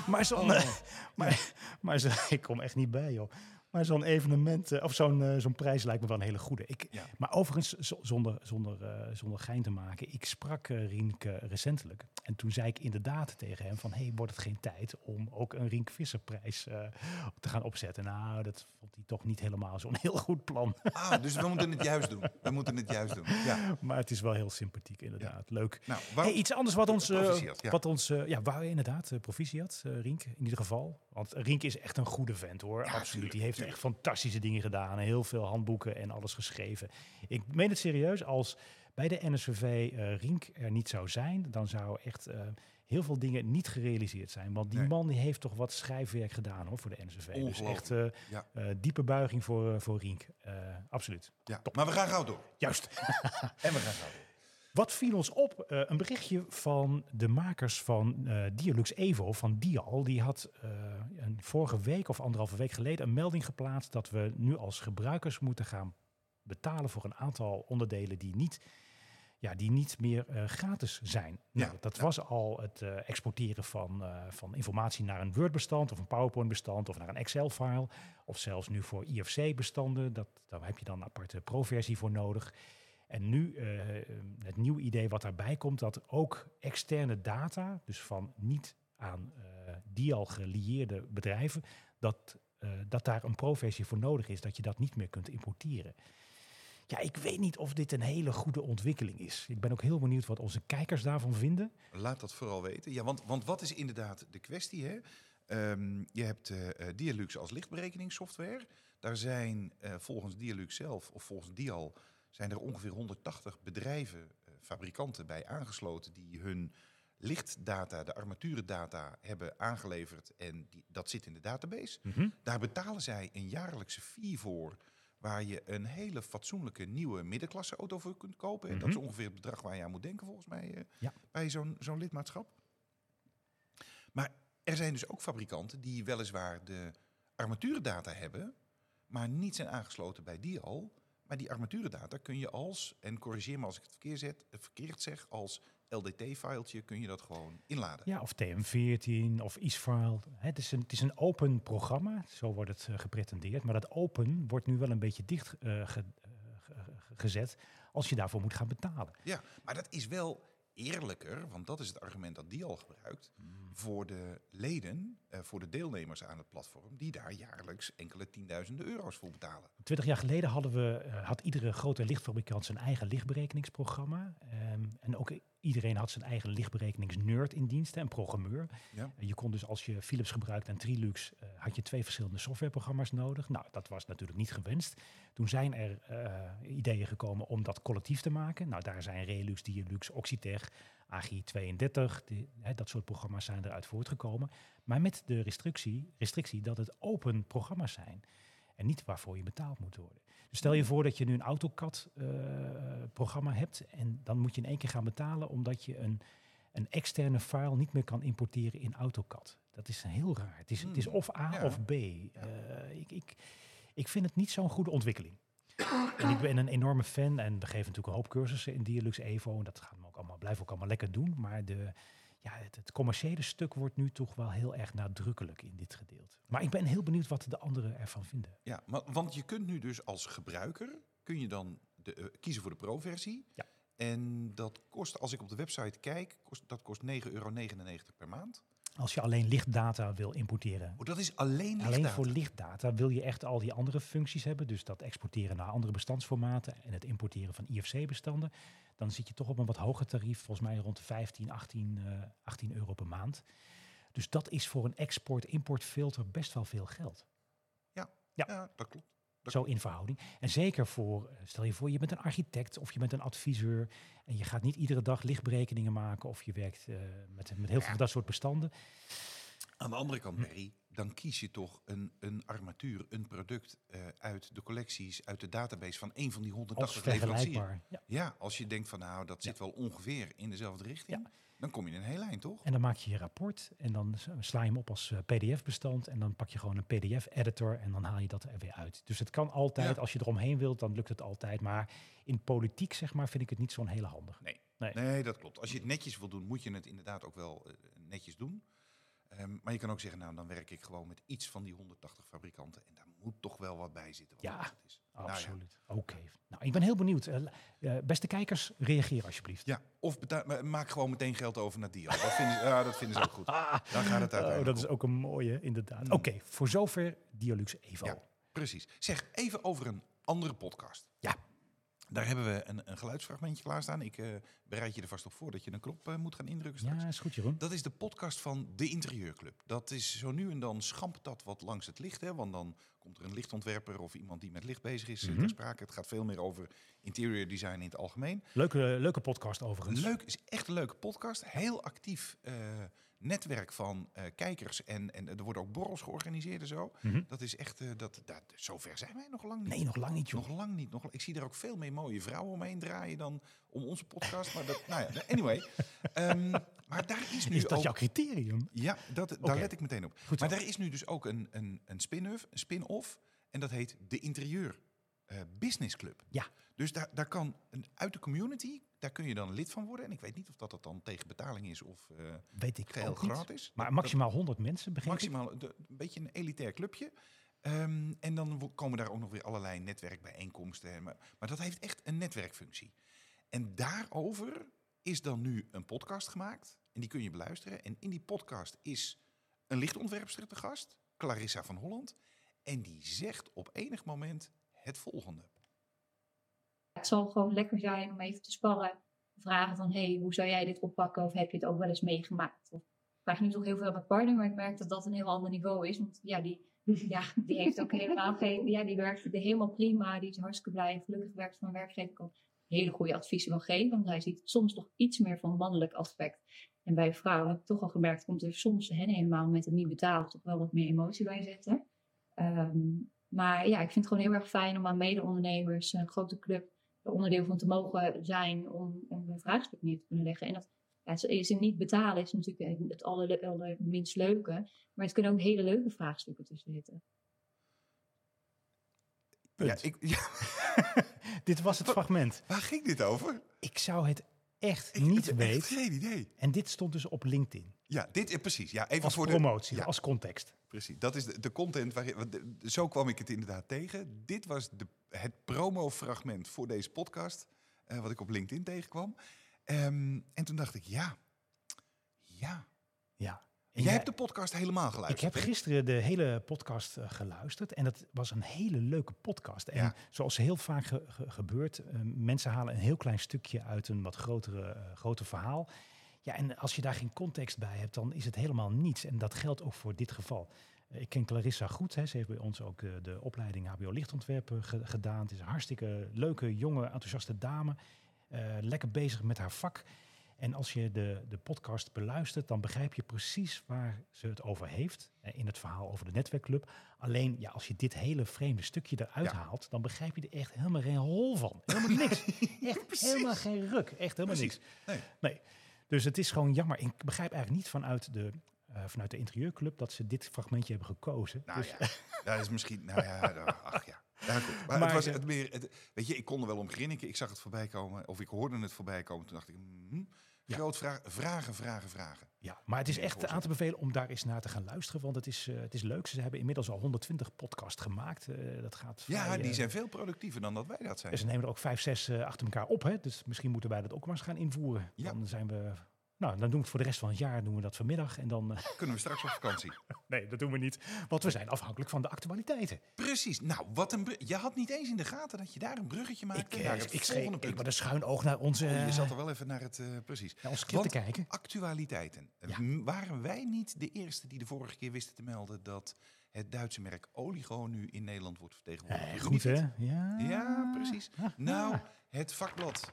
Maar zo'n... eh, maar, maar zo, [LAUGHS] ik kom echt niet bij, joh. Maar zo'n evenement, eh, of zo'n eh, zo'n prijs lijkt me wel een hele goede. Ik,
Ja.
Maar overigens, z- zonder, zonder, eh, zonder gein te maken, ik sprak eh, Rienke recentelijk. En toen zei ik inderdaad tegen hem van, hey, wordt het geen tijd om ook een Rienke Visserprijs eh, te gaan opzetten? Nou, dat vond hij toch niet helemaal zo'n [LAUGHS] heel goed plan.
Ah, dus we moeten het juist doen. We moeten het juist doen. Ja.
maar het is wel heel sympathiek, inderdaad. Leuk.
Nou,
Hey,
waarom-
iets anders wat ons... eh,
Proficiat, ja.
wat ons eh, ja, waar inderdaad, eh, proficiat, eh, Rienk in ieder geval. Want Rienk is echt een goede vent hoor, absoluut. Die heeft echt fantastische dingen gedaan. en Heel veel handboeken en alles geschreven. Ik meen het serieus, als bij de NSVV eh, Rienk er niet zou zijn... dan zou echt eh, heel veel dingen niet gerealiseerd zijn. Want die
Nee.
man die heeft toch wat schrijfwerk gedaan hoor, voor de NSVV. Dus
Ongelooflijk,
echt eh,
ja.
eh, diepe buiging voor, eh, voor Rienk. Eh, absoluut.
ja. Maar we gaan gauw door.
Juist.
En we gaan gauw door.
Wat viel ons op? Eh, een berichtje van de makers van eh Dialux Evo, van Dial. Die had eh, een vorige week of anderhalve week geleden een melding geplaatst dat we nu als gebruikers moeten gaan betalen voor een aantal onderdelen die niet, ja, die niet meer eh, gratis zijn. Nou,
Ja,
dat
ja.
was al het eh, exporteren van, eh, van informatie naar een Word-bestand of een PowerPoint-bestand of naar een Excel-file. Of zelfs nu voor IFC-bestanden. Dat, daar heb je dan een aparte pro-versie voor nodig. En nu eh, eh, het nieuwe idee wat daarbij komt, dat ook externe data, dus van niet aan eh dial gelieerde bedrijven, dat, eh, dat daar een pro-versie voor nodig is, dat je dat niet meer kunt importeren. Ja, ik weet niet of dit een hele goede ontwikkeling is. Ik ben ook heel benieuwd wat onze kijkers daarvan vinden.
Laat dat vooral weten. Ja, want, want wat is inderdaad de kwestie? Hè? Ehm, je hebt eh eh, Dialux als lichtberekeningssoftware. Daar zijn eh, volgens Dialux zelf, of volgens Dial, zijn er ongeveer 180 bedrijven, eh, fabrikanten bij aangesloten die hun lichtdata, de armaturendata, hebben aangeleverd en die, dat zit in de database. Daar betalen zij een jaarlijkse fee voor, waar je een hele fatsoenlijke nieuwe middenklasse auto voor kunt kopen. En dat is ongeveer het bedrag waar je aan moet denken volgens mij eh,
Ja.
bij zo'n zo'n lidmaatschap. Maar er zijn dus ook fabrikanten die weliswaar de armaturendata hebben, maar niet zijn aangesloten bij Dial. Maar die armaturendata kun je als, en corrigeer me als ik het verkeer zet, eh, verkeerd zeg, als LDT-filetje kun je dat gewoon inladen.
Ja, of TM14 of ISFile. Hè, Het is, een, het is een open programma, zo wordt het eh, gepretendeerd. Maar dat open wordt nu wel een beetje dicht eh, ge- eh, ge- ge- gezet als je daarvoor moet gaan betalen.
Ja, maar dat is wel eerlijker, want dat is het argument dat die al gebruikt, voor de leden, eh, voor de deelnemers aan het platform, die daar jaarlijks enkele tienduizenden euro's voor betalen.
Twintig jaar geleden hadden we, eh, had iedere grote lichtfabrikant zijn eigen lichtberekeningsprogramma. Ehm, en ook iedereen had zijn eigen lichtberekeningsnerd in dienst hè, en programmeur.
Ja.
Je kon dus als je Philips gebruikte en Trilux, eh, had je twee verschillende softwareprogramma's nodig. Nou, dat was natuurlijk niet gewenst. Toen zijn er eh, ideeën gekomen om dat collectief te maken. Nou, daar zijn Relux, Dialux, Oxitech, AGI32, die- hè, dat soort programma's zijn eruit voortgekomen. Maar met de restrictie, restrictie dat het open programma's zijn en niet waarvoor je betaald moet worden. Dus stel je voor dat je nu een AutoCAD-programma hebt en dan moet je in één keer gaan betalen omdat je een een externe file niet meer kan importeren in AutoCAD. Dat is heel raar. Het is, het is
Hmm,
of A
ja.
of B. Eh, ik, ik, ik vind het niet zo'n goede ontwikkeling. en ik ben een enorme fan en we geven natuurlijk een hoop cursussen in Dialux Evo. En dat gaan we ook allemaal, blijven we ook allemaal lekker doen. Maar de, ja, het, het commerciële stuk wordt nu toch wel heel erg nadrukkelijk in dit gedeelte. Maar ik ben heel benieuwd wat de anderen ervan vinden.
Ja, maar, want je kunt nu dus als gebruiker, kun je dan de, eh, kiezen voor de pro-versie.
Ja.
En dat kost, als ik op de website kijk, kost, dat kost 9,99 euro per maand.
Als je alleen lichtdata wil importeren
Oh, dat is alleen lichtdata.
Alleen voor lichtdata wil je echt al die andere functies hebben. Dus dat exporteren naar andere bestandsformaten en het importeren van IFC-bestanden. Dan zit je toch op een wat hoger tarief, volgens mij rond de 15, 18, eh, 18 euro per maand. Dus dat is voor een export-import filter best wel veel geld.
Ja,
ja.
dat klopt. Dat-
Zo in verhouding. En zeker voor, eh, stel je voor, je bent een architect of je bent een adviseur. En je gaat niet iedere dag lichtberekeningen maken of je werkt eh, met, met heel veel van dat soort bestanden.
Aan de andere
Hm.
kant, Mary, dan kies je toch een, een armatuur, een product eh, uit de collecties, uit de database van een van die
Als
180 leveranciers.
vergelijkbaar. Ja.
Ja, als je denkt van nou, dat zit wel ongeveer in dezelfde richting, dan kom je in een heel eind, toch?
En dan maak je je rapport en dan s- sla je hem op als eh, PDF-bestand. En dan pak je gewoon een PDF-editor en dan haal je dat er weer uit. Dus het kan altijd,
Ja.
als je eromheen wilt, dan lukt het altijd. Maar in politiek, zeg maar, vind ik het niet zo'n hele handig.
Nee.
Nee.
nee, dat klopt. Als je het netjes wil doen, moet je het inderdaad ook wel eh, netjes doen. Ehm, maar je kan ook zeggen, nou, dan werk ik gewoon met iets van die 180 fabrikanten. En daar moet toch wel wat bij zitten. wat
Ja,
dat het is. Nou ja.
Absoluut. Oké. Nou, ik ben heel benieuwd. Eh, la- eh, beste kijkers, reageer alsjeblieft.
Ja, of beta- maar maak gewoon meteen geld over naar Dio. Dat vinden ze, [LAUGHS] ja, dat vinden ze ook goed.
Ah,
Daar gaat het
oh,
uiteindelijk
dat is
om.
ook een mooie, inderdaad.
Mm.
Oké, voor zover Dialux Evo.
Ja. Precies. Zeg, even over een andere podcast.
Ja.
Daar hebben we een, een geluidsfragmentje klaarstaan. Ik eh, bereid je er vast op voor dat je een knop eh, moet gaan indrukken straks.
Ja, is goed, Jeroen.
Dat is de podcast van De Interieurclub. Dat is zo nu en dan schampt dat wat langs het licht. Hè? Want dan komt er een lichtontwerper of iemand die met licht bezig is eh,
Mhm.
ter sprake. Het gaat veel meer over interior design in het algemeen.
Leuke, leuke podcast overigens.
Leuk, is echt een leuke podcast. Heel actief eh, netwerk van eh, kijkers. En, en er worden ook borrels georganiseerd en zo.
Mhm.
Dat is echt, eh, dat, dat, zover zijn wij nog lang niet.
Nee, nog lang niet, joh.
Nog lang niet. Nog, ik zie daar ook veel meer mooie vrouwen omheen draaien dan om onze podcast. Maar dat, [LAUGHS] nou ja, anyway. Ehm, maar daar is nu
Is dat
ook...
jouw criterium?
Ja, dat, daar
Oké.
let ik meteen op.
Goed zo.
maar daar is nu dus ook een, een, een spin-off, een spin-off. En dat heet de Interieur eh, Business Club.
Ja.
Dus daar, daar kan een, uit de community, daar kun je dan lid van worden. En ik weet niet of dat, dat dan tegen betaling is of eh
Weet ik
geheel
ook niet.
gratis.
Maar
Dat-
maximaal 100 mensen
dat-
begint.
maximaal de- een beetje een elitair clubje. Ehm, en dan wo- komen daar ook nog weer allerlei netwerkbijeenkomsten. en Maar, maar dat heeft echt een netwerkfunctie. En daarover is dan nu een podcast gemaakt. En die kun je beluisteren. En in die podcast is een lichtontwerpster te gast, Clarissa van Holland. En die zegt op enig moment het volgende.
het zal gewoon lekker zijn om even te sparren. Vragen van, hey, hoe zou jij dit oppakken? Of heb je het ook wel eens meegemaakt? Of, ik vraag nu toch heel veel aan mijn partner, maar ik merk dat dat een heel ander niveau is. Want ja, die, ja, die heeft ook helemaal geen... Ja, die werkt er helemaal prima. Die is hartstikke blij en gelukkig werkt van mijn werkgever. Kan hele goede adviezen wil geven. Want hij ziet soms toch iets meer van mannelijk aspect. En bij vrouwen heb ik toch al gemerkt, komt er soms hen helemaal met het niet betaald toch wel wat meer emotie bij zitten. Ehm, maar ja, ik vind het gewoon heel erg fijn om aan mede-ondernemers, een grote club, er onderdeel van te mogen zijn om, om een vraagstuk neer te kunnen leggen. En dat ja, ze, ze niet betalen is natuurlijk eh, het aller, allerminst leuke. Maar het kunnen ook hele leuke vraagstukken tussen zitten.
Punt.
Ja, ik, ja,
[LAUGHS] Dit was het fragment.
waar ging dit over?
Ik zou het echt
Ik
niet
heb echt
weten.
geen idee.
En dit stond dus op LinkedIn.
Ja, dit, eh, precies. Ja, even
Als
voor de,
promotie,
ja.
als context.
Precies, dat is de, de content waarin. want de- de- zo kwam ik het inderdaad tegen. Dit was de, het promo-fragment voor deze podcast, eh, wat ik op LinkedIn tegenkwam. Ehm, en toen dacht ik, ja, ja.
Ja.
Jij
Ja,
hebt de podcast helemaal
ik
geluisterd.
heb
hè?
gisteren de hele podcast eh, geluisterd en dat was een hele leuke podcast. En
Ja.
zoals heel vaak ge- ge- gebeurt, eh, mensen halen een heel klein stukje uit een wat grotere, eh, groter verhaal. Ja, en als je daar geen context bij hebt, dan is het helemaal niets. En dat geldt ook voor dit geval. Eh, Ik ken Clarissa goed. Hè. Ze heeft bij ons ook eh, de opleiding HBO Lichtontwerpen eh, ge- gedaan. Het is een hartstikke leuke, jonge, enthousiaste dame. Eh, lekker bezig met haar vak. En als je de, de podcast beluistert, dan begrijp je precies waar ze het over heeft. eh, In het verhaal over de netwerkclub. Alleen ja, als je dit hele vreemde stukje eruit
Ja.
haalt, dan begrijp je er echt helemaal geen hol van.
[LAUGHS]
Helemaal niks. Echt
Precies.
helemaal geen ruk. Echt helemaal
Precies.
niks.
Nee.
Dus het is gewoon jammer. Ik begrijp eigenlijk niet vanuit de, eh, vanuit de interieurclub dat ze dit fragmentje hebben gekozen.
Nou
Dus-
ja, dat is misschien. Nou ja, nou, ach ja. Ja, goed. Maar,
Maar,
het was
eh,
het meer. Het, weet je, ik kon er wel om grinniken. Ik zag het voorbij komen, of ik hoorde het voorbij komen. Toen dacht ik, hm,
Ja.
groot vraag, vragen, vragen, vragen.
Ja, maar het is
Nee,
echt
volgens
aan te bevelen om daar eens naar te gaan luisteren. Want het is, eh, het is leuk. Ze hebben inmiddels al 120 podcasts gemaakt. Eh, dat gaat vrij,
Ja,
eh,
die zijn veel productiever dan dat wij dat zijn.
En ze nemen er ook vijf, zes eh, achter elkaar op. Hè? Dus misschien moeten wij dat ook maar eens gaan invoeren.
Ja.
Dan zijn we. Nou, dan doen we het voor de rest van het jaar doen we dat vanmiddag. En dan. eh, [LAUGHS]
Kunnen we straks op vakantie?
nee, dat doen we niet. Want we zijn afhankelijk van de actualiteiten.
Precies. Nou, wat een bru- Je had niet eens in de gaten dat je daar een bruggetje
ik
maakte.
eh,
naar
ik,
het
ik schreef
volgende
ik
punt.
met een schuin oog naar onze.
Oh, je
eh,
zat er wel even naar het... eh, precies.
naar ons script te
Want-
kijken.
Actualiteiten. Eh,
Ja.
m- Waren wij niet de eerste die de vorige keer wisten te melden... dat het Duitse merk Oligo nu in Nederland wordt vertegenwoordigd?
Eh,
door
goed hè?
Unifit?
Ja.
Ja, precies.
Ah,
Nou, het vakblad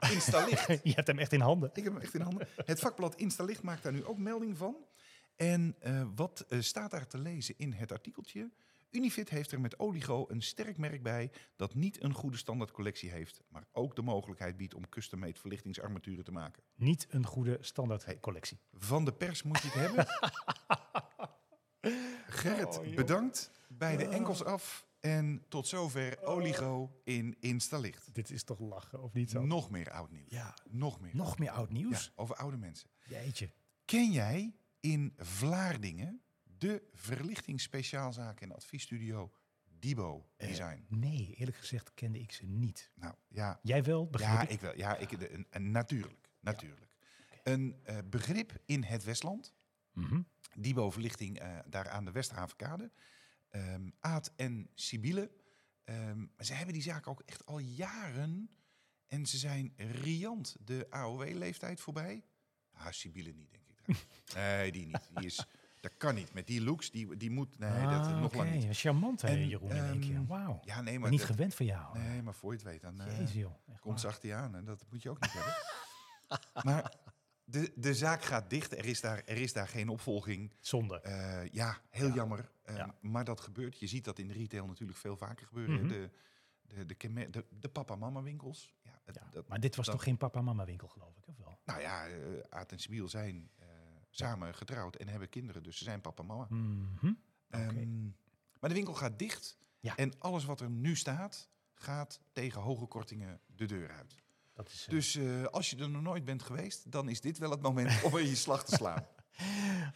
[LAUGHS]
Instalicht.
ah. [LAUGHS] Je hebt hem echt in handen.
Ik heb hem echt in handen. Het vakblad Instalicht maakt daar nu ook melding van. En eh, wat eh, staat daar te lezen in het artikeltje? Unifit heeft er met Oligo een sterk merk bij dat niet een goede standaard collectie heeft, maar ook de mogelijkheid biedt om custom-made verlichtingsarmaturen te maken.
Niet een goede standaard collectie.
Van de pers moet je het
[LAUGHS]
hebben. Gerrit,
Oh, joh.
bedankt. Bij de
Ah.
enkels af. En tot zover
Oh.
Oligo in Instalicht.
Dit is toch lachen, of niet zo?
Nog meer oud nieuws.
Ja.
Nog meer.
Nog meer oud
Ja,
nieuws.
over oude mensen.
Jeetje.
Ken jij in Vlaardingen de verlichtingsspeciaalzaak en adviesstudio Dibo Design.
Nee, eerlijk gezegd kende ik ze niet.
nou ja,
Jij wel, begrijp
ja,
ik?
ik wel. Ja, ik, de- een- een- natuurlijk. natuurlijk. Een eh, begrip in het Westland.
Mhm.
Dibo Verlichting eh, daar aan de Westhavenkade. Ehm Aad en Sibylle. Ehm, maar ze hebben die zaak ook echt al jaren. En ze zijn riant de AOW-leeftijd voorbij. Ah, Sibylle niet, denk ik. [LAUGHS] trouwens. nee, die niet. Die is, dat kan niet. Met die looks, die, die moet... Nee, dat
Ah,
nog lang
oké.
niet.
Charmant, hè,
En,
Jeroen, in één keer.
ehm,
Wauw.
Ja, nee,
Maar
maar...
niet
dat-
gewend van jou. hè.
nee, maar voor je het weet, dan... eh,
Jezus, joh. Echt
Komt
waar.
zacht die aan en dat moet je ook niet hebben. [LAUGHS] Maar de, de zaak gaat dicht. Er is daar, er is daar geen opvolging.
Zonde.
Eh, ja, heel
Ja.
jammer. Eh,
Ja.
Maar dat gebeurt. Je ziet dat in de retail natuurlijk veel vaker gebeuren.
Mhm.
De, de, de, kenmer- de, de papa-mama winkels. Ja, het-
Ja,
dat,
maar dit was
dat-
toch geen papa-mama winkel, geloof ik, of wel?
nou ja, eh, Aad en Sibiel zijn eh, samen getrouwd en hebben kinderen. Dus ze zijn papa-mama.
Mhm. Oké.
Ehm, maar de winkel gaat dicht.
Ja.
En alles wat er nu staat, gaat tegen hoge kortingen de deur uit.
Dat is, eh,
Dus eh, als je er nog nooit bent geweest, dan is dit wel het moment om in je slag te
[LAUGHS]
slaan.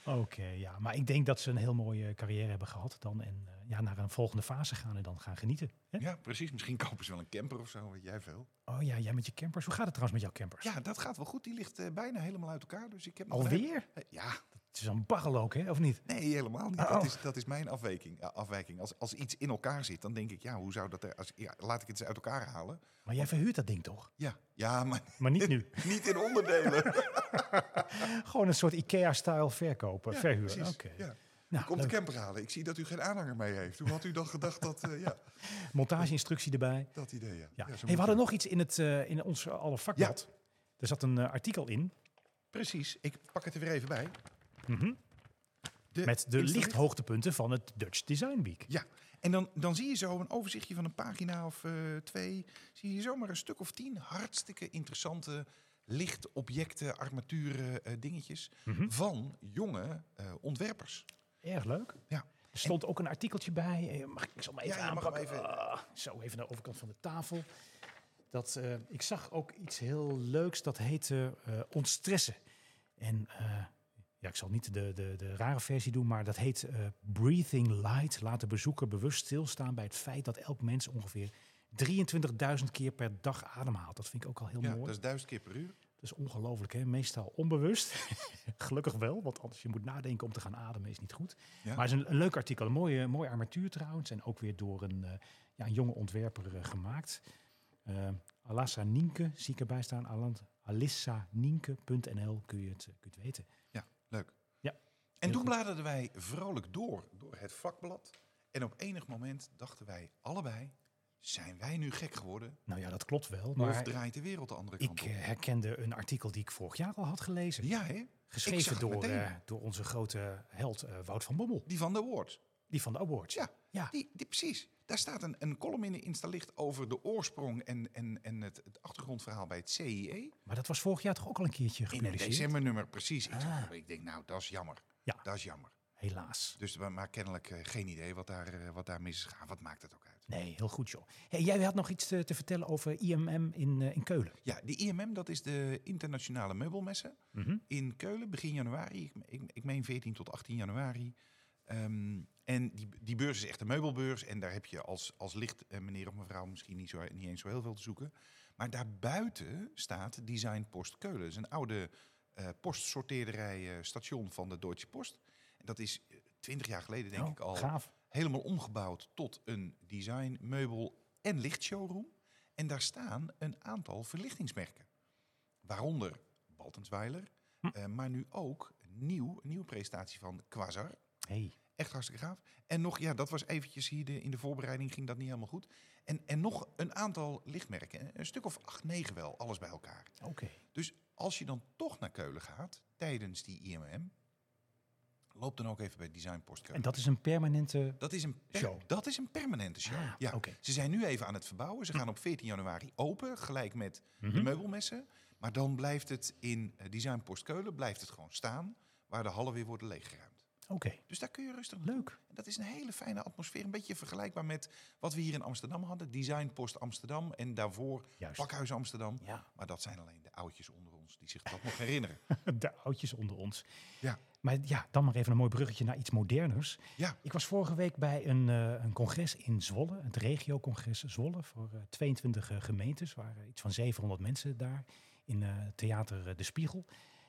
Oké, ja. Maar ik denk dat ze een heel mooie carrière hebben gehad dan. En eh, ja, naar een volgende fase gaan en dan gaan genieten. Hè?
ja, precies. Misschien kopen ze wel een camper of zo, weet jij veel.
Oh ja, jij met je campers. Hoe gaat het trouwens met jouw campers?
Ja, dat gaat wel goed. Die ligt eh, bijna helemaal uit elkaar. Dus ik heb nog een hele-
Alweer?
Eh, Ja,
Het is een baggel ook, hè? Of niet?
nee, helemaal niet.
Oh.
Dat, is, dat is mijn afwijking. eh, afwijking. Als, als iets in elkaar zit, dan denk ik, ja, hoe zou dat er... Als, ja, laat ik het eens uit elkaar halen.
Maar jij verhuurt dat ding toch?
Ja, ja maar [LAUGHS]
Maar niet nu.
niet in
[LAUGHS]
onderdelen.
Gewoon een soort IKEA-style verkopen,
Ja,
verhuren.
precies.
Oké.
Ja.
Nou,
Komt de
leuk.
camper halen. Ik zie dat u geen aanhanger mee heeft. Hoe had u dan gedacht dat... eh, ja,
montageinstructie erbij.
dat idee, ja.
Ja.
Ja, zo
hey,
moet
we hadden
je-
nog iets in, het, eh, in ons alle vakblad. Er zat een eh, artikel in
Precies. Ik pak het er weer even bij.
mhm,
De
met de
installatie-
lichthoogtepunten van het Dutch Design Week.
Ja, en dan, dan zie je zo een overzichtje van een pagina of eh, twee. Zie je zomaar een stuk of tien hartstikke interessante lichtobjecten, armaturen, eh, dingetjes.
Mhm.
Van jonge eh, ontwerpers.
Erg leuk.
Ja.
Er stond ook een artikeltje bij. Eh, Mag ik ik zal hem even
Ja, je mag hem
aanpakken?
even-
Ah, zo, even naar de overkant van de tafel. Dat, eh, ik zag ook iets heel leuks. Dat heette eh, ontstressen. En eh, ja, ik zal niet de, de, de rare versie doen, maar dat heet eh, Breathing Light. Laat de bezoeker bewust stilstaan bij het feit dat elk mens ongeveer 23.000 keer per dag ademhaalt. Dat vind ik ook al heel
Ja,
mooi.
dat is duizend keer per uur.
Dat is ongelooflijk, hè? Meestal onbewust. [LAUGHS] Gelukkig wel, want anders je moet nadenken om te gaan ademen is niet goed.
Ja.
Maar het is een, een leuk artikel, een mooie, mooie armatuur trouwens. En ook weer door een, eh, ja, een jonge ontwerper eh, gemaakt. Eh, Alassa Nienke, zie ik erbij staan. Alan- Alissanienke.nl kun, je het, eh, kun je het weten.
Leuk.
Ja,
En
heel
toen
goed.
bladerden wij vrolijk door, door het vakblad. En op enig moment dachten wij allebei, zijn wij nu gek geworden?
Nou ja, dat klopt wel.
of
Maar
draait de wereld de andere kant
ik eh,
op?
herkende een artikel die ik vorig jaar al had gelezen.
Ja, hè? zag
Geschreven
het
door,
meteen.
eh, door onze grote held eh, Wout van Bommel.
Die van de Awards.
Die van de awards.
Ja,
ja.
Die, die- precies. Daar staat een, een column in de Instalicht over de oorsprong en, en, en het, het achtergrondverhaal bij het CIE.
Maar dat was vorig jaar toch ook al een keertje
In eh, het
gepubliceerd?
decembernummer, precies. Ik
Ah.
zag dat, Ik denk, nou, dat is jammer.
Ja.
Dat is jammer.
Helaas.
Dus, maar, maar kennelijk eh, geen idee wat daar, eh, wat daar mis is gegaan. Wat maakt het ook uit?
Nee, heel goed joh. Hey, jij had nog iets te, te vertellen over IMM in, eh, in Keulen.
Ja, de IMM, dat is de Internationale Meubelmessen
Nou,
in Keulen, begin januari. Ik, ik, ik meen 14 tot 18 januari. Ehm, en die, die beurs is echt een meubelbeurs. En daar heb je als, als licht eh, meneer of mevrouw misschien niet, zo, niet eens zo heel veel te zoeken. Maar daarbuiten staat Design Post Keulen. Dat is een oude eh postsorteerderij eh, station van de Deutsche Post. En dat is eh, twintig jaar geleden, denk
Oh,
ik, al
Gaaf.
helemaal omgebouwd tot een design, meubel en lichtshowroom. En daar staan een aantal verlichtingsmerken. Waaronder Baltensweiler,
Hm.
eh, maar nu ook nieuw, een nieuwe presentatie van Quasar.
Hey.
Echt hartstikke gaaf. En nog, ja, dat was eventjes hier de, in de voorbereiding ging dat niet helemaal goed. En, en nog een aantal lichtmerken. Een- Een stuk of acht, negen wel, alles bij elkaar.
Oké.
Dus als je dan toch naar Keulen gaat, tijdens die IMM, loop dan ook even bij Design Post Keulen.
En dat is een permanente...
Dat is een, per-
Show.
Dat is een permanente show.
Ah,
ja.
oké.
Ze zijn nu even aan het verbouwen. Ze gaan op 14 januari open, gelijk met de
Mhm.
meubelmessen. Maar dan blijft het in eh, Design Post Keulen blijft het gewoon staan, waar de hallen weer worden leeggeruimd.
Oké,
Dus daar kun je rustig naartoe.
leuk.
En Dat is een hele fijne atmosfeer. Een beetje vergelijkbaar met wat we hier in Amsterdam hadden. Designpost Amsterdam en daarvoor
Juist.
Pakhuis Amsterdam.
Ja.
Maar dat zijn alleen de oudjes onder ons die zich dat nog
[LAUGHS]
herinneren.
[LAUGHS] De oudjes onder ons.
Ja.
Maar ja, dan maar even een mooi bruggetje naar iets moderners.
Ja.
Ik was vorige week bij een, eh, een congres in Zwolle, het regiocongres Zwolle, voor eh, 22 gemeentes. waren iets van 700 mensen daar in eh, Theater eh, De Spiegel.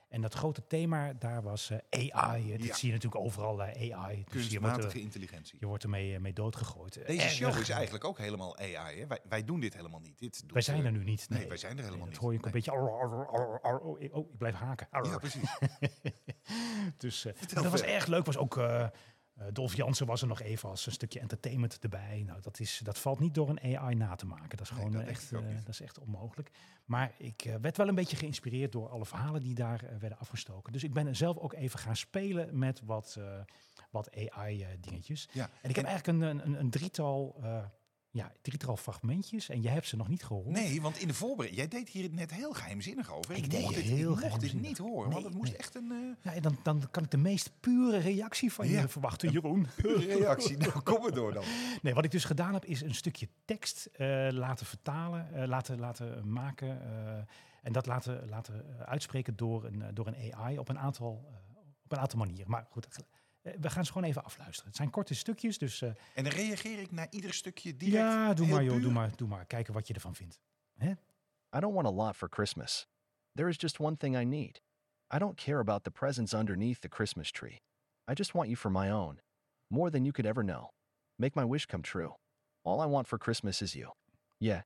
En dat grote thema daar was eh, AI. Eh, Dit
Ja.
zie je natuurlijk overal, eh, AI. Dus je wordt,
Kunstmatige
er,
intelligentie.
je wordt ermee, eh, mee doodgegooid. Eh,
Deze show
erg.
is eigenlijk ook helemaal AI. Hè? Wij, wij doen dit helemaal niet. Dit doet,
Wij zijn
eh,
er nu niet.
nee, wij zijn er helemaal
dat
niet.
hoor je ook
Nee.
een beetje. arr, arr, arr, arr, oh, ik- oh, ik blijf haken. Arr. [LAUGHS]
Ja, precies.
dus eh,
Vertel
dat was
verder.
erg leuk. Was ook eh eh, Dolf Jansen was er nog even als een stukje entertainment erbij. Nou, dat, is, dat valt niet door een AI na te maken. Dat is
Nee,
gewoon
dat
eh,
denk
echt,
ik ook
eh,
niet.
dat is echt onmogelijk. Maar ik eh, werd wel een beetje geïnspireerd door alle verhalen die daar eh, werden afgestoken. Dus ik ben zelf ook even gaan spelen met wat, eh, wat AI-dingetjes.
Ja.
en ik heb eigenlijk een, een, een drietal, eh, ja, drietal fragmentjes. En je hebt ze nog niet gehoord.
Nee, want in de voorbereiding... Jij deed hier het net heel geheimzinnig over.
Ik deed
mocht dit,
heel
ik mocht dit
geheimzinnig.
niet horen,
Nee,
want het moest
nee.
echt
[LAUGHS]
een eh,
Ja, en dan, dan kan ik de meest pure reactie van
Ja.
je verwachten, Jeroen.
pure
[LAUGHS]
reactie. Nou, kom maar door dan.
Nee, wat ik dus gedaan heb, is een stukje tekst eh, laten vertalen, eh, laten, laten maken. eh, en dat laten, laten eh, uitspreken door een, eh, door een AI op een, aantal, eh, op een aantal manieren. Maar goed, eh, we gaan ze gewoon even afluisteren. Het zijn korte stukjes, dus eh,
En dan reageer ik naar ieder stukje direct.
ja, doe
heel
maar joh,
puur.
doe maar, doe maar. Kijken wat je ervan vindt.
I don't want a lot for Christmas. There is just one thing I need. I don't care about the presents underneath the Christmas tree. I just want you for my own. More than you could ever know. Make my wish come true. All I want for Christmas is you. Yeah,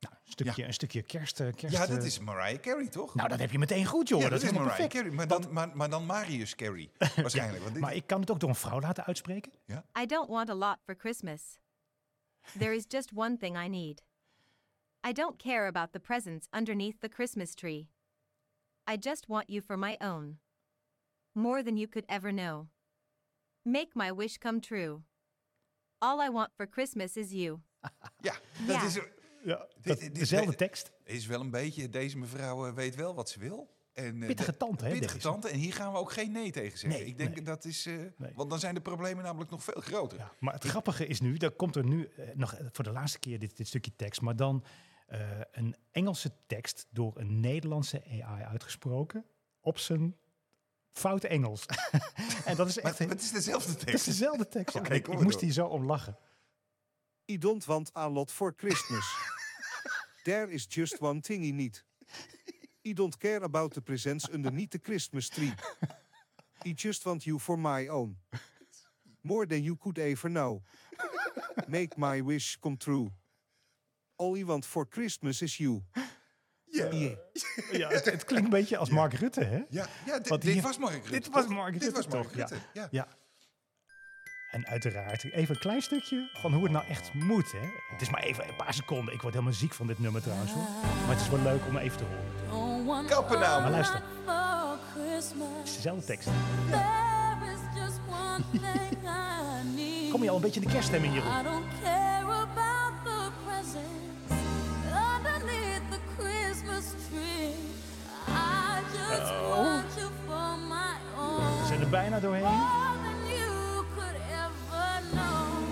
Nou, een stukje, een stukje kerst, eh, kerst.
Ja, dat
eh,
is Mariah Carey, toch?
Nou, dat heb je meteen goed, joh.
Ja,
dat, is helemaal
Mariah
perfect.
Carey. Maar dan, maar, maar dan Marius
[LAUGHS]
Carey, waarschijnlijk. want dit-
Maar ik kan het ook door een vrouw laten uitspreken.
I don't want a lot for Christmas. There is just one thing I need. I don't care about the presents underneath the Christmas tree. I just want you for my own. More than you could ever know. Make my wish come true. All I want for Christmas is you.
ja, dat
Ja.
is,
Ja,
dit- dit-
dezelfde
dit-
tekst.
is wel een beetje... Deze mevrouw eh, weet wel wat ze wil. En, eh,
Pittige
de-
tante, hè,
Pittige
deze.
tante. En hier gaan we ook geen nee tegen zeggen.
Nee,
ik denk
nee.
dat is... eh,
Nee.
Want dan zijn de problemen namelijk nog veel groter.
Ja, maar het grappige is nu, daar komt er nu eh, nog eh, voor de laatste keer dit, dit stukje tekst, maar dan eh, een Engelse tekst door een Nederlandse AI uitgesproken op zijn fout Engels. [LAUGHS] en dat is
Maar
echt
het- het is dezelfde
het is
tekst.
dezelfde
[LAUGHS]
tekst. ja.
Oké,
En ik
kom
ik
maar
moest
door.
hier zo om lachen.
I don't want a lot for
[LAUGHS]
Christmas. there is just one thing I need. I don't care about the presents underneath the Christmas tree. I just want you for my own. More than you could ever know. Make my wish come true. All I want for Christmas is you. Yeah.
Ja, het, het klinkt een beetje als Mark Rutte, hè?
Ja, ja di-
Want
dit
hier-
was Mark Rutte.
dit was
toch?
Mark
Dit
Rutte
was Mark
toch, ja.
Rutte, ja.
Ja. En uiteraard even een klein stukje van hoe het nou echt moet, hè? Het is maar even een paar seconden. Ik word helemaal ziek van dit nummer trouwens, hoor. Maar het is wel leuk om even te horen.
Don't want
Kappen nou.
Maar luister,
a lot for
het is
Christmas.
dezelfde tekst.
There is just one thing I need.
Kom je al een beetje in de kerststemming, Jeroen?
I don't care about the presents underneath the Christmas tree. I just
Oh.
Oh.
want you for my
We
own.
zijn er bijna doorheen.
More than you could ever know.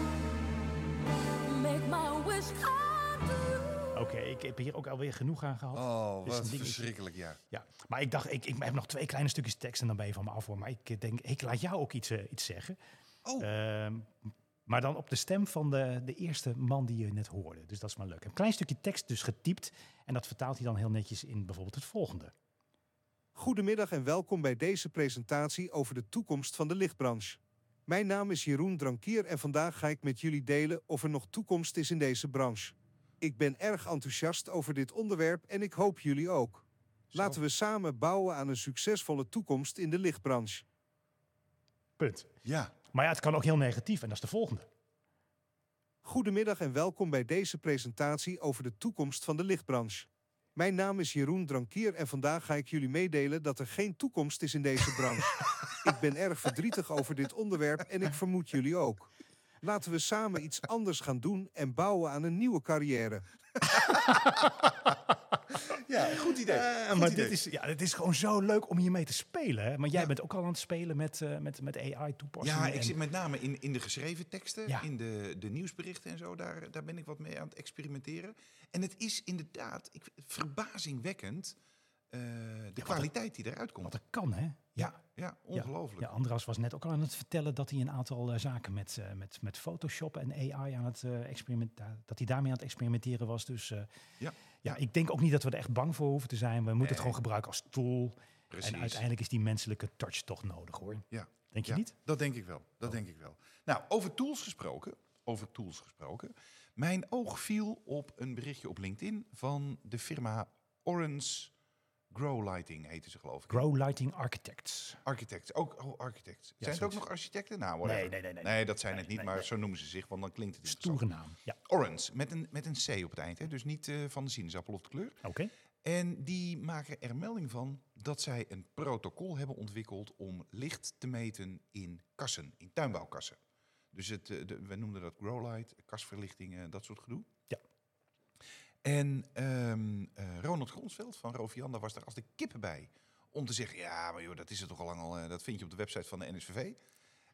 Make my wish come true.
Oké, ik heb hier ook alweer genoeg aan gehad.
Oh,
Dit is een
wat
dingetje.
verschrikkelijk, ja.
Ja, maar ik dacht, ik, ik heb nog twee kleine stukjes tekst en dan ben je van me af hoor. Maar ik eh, denk, ik laat jou ook iets, eh, iets zeggen.
Oh.
Ehm, maar dan op de stem van de, de eerste man die je net hoorde. Dus dat is wel leuk. Een klein stukje tekst dus getypt. En dat vertaalt hij dan heel netjes in bijvoorbeeld het volgende.
Goedemiddag en welkom bij deze presentatie over de toekomst van de lichtbranche. Mijn naam is Jeroen Drankier en vandaag ga ik met jullie delen of er nog toekomst is in deze branche. Ik ben erg enthousiast over dit onderwerp en ik hoop jullie ook. Laten we samen bouwen aan een succesvolle toekomst in de lichtbranche.
Punt.
Ja,
Maar ja, het kan ook heel negatief. En dat is de volgende.
Goedemiddag en welkom bij deze presentatie over de toekomst van de lichtbranche. Mijn naam is Jeroen Drankier en vandaag ga ik jullie meedelen dat er geen toekomst is in deze branche. ik ben erg verdrietig over dit onderwerp en ik vermoed jullie ook. Laten we samen iets anders gaan doen en bouwen aan een nieuwe carrière.
Ja, goed idee.
Eh,
Goed
maar
idee.
dit is, ja, dit is gewoon zo leuk om hiermee te spelen. hè. Maar jij bent ook al aan het spelen met, eh, met, met AI-toepassingen.
Ja, ik zit met name in, in de geschreven teksten,
Ja.
in de, de nieuwsberichten en zo. Daar, daar ben ik wat mee aan het experimenteren. En het is inderdaad ik, verbazingwekkend eh, de kwaliteit die eruit komt.
Wat er kan, hè?
ja, ja, ongelooflijk.
Ja, Andras was net ook al aan het vertellen dat hij een aantal eh, zaken met, eh, met, met Photoshop en AI aan het eh experimenteren, dat hij daarmee aan het experimenteren was. Dus eh,
Ja.
ja, ik denk ook niet dat we er echt bang voor hoeven te zijn. We moeten
Nee.
het gewoon gebruiken als tool.
Precies.
En uiteindelijk is die menselijke touch toch nodig, hoor.
Ja.
Denk je
Ja,
niet? Oh.
Dat denk ik wel. Dat denk ik wel. Nou, over tools gesproken. Over tools gesproken. Mijn oog viel op een berichtje op LinkedIn van de firma Orange Grow Lighting heette ze geloof ik.
Grow Lighting Architects.
Architects. Ook oh, architects. zijn het ook
zoiets.
nog architecten? Nou, whatever.
Nee, nee, nee, nee.
dat zijn
Nee,
het niet,
nee,
maar
nee.
zo noemen ze zich, want dan klinkt het
Stoere
interessant.
naam. Ja,
Orange, met een, met een C op het eind, hè? dus niet eh, van de sinaasappel of de kleur.
oké.
En die maken er melding van dat zij een protocol hebben ontwikkeld om licht te meten in kassen, in tuinbouwkassen. Dus het, eh, de- we noemden dat growlight, kasverlichting, eh, dat soort gedoe.
Ja.
En ehm, eh, Ronald Gronsveld van Rovianda was daar als de kippen bij om te zeggen, ja, maar joh, dat is er toch al lang al, eh, dat vind je op de website van de NSVV.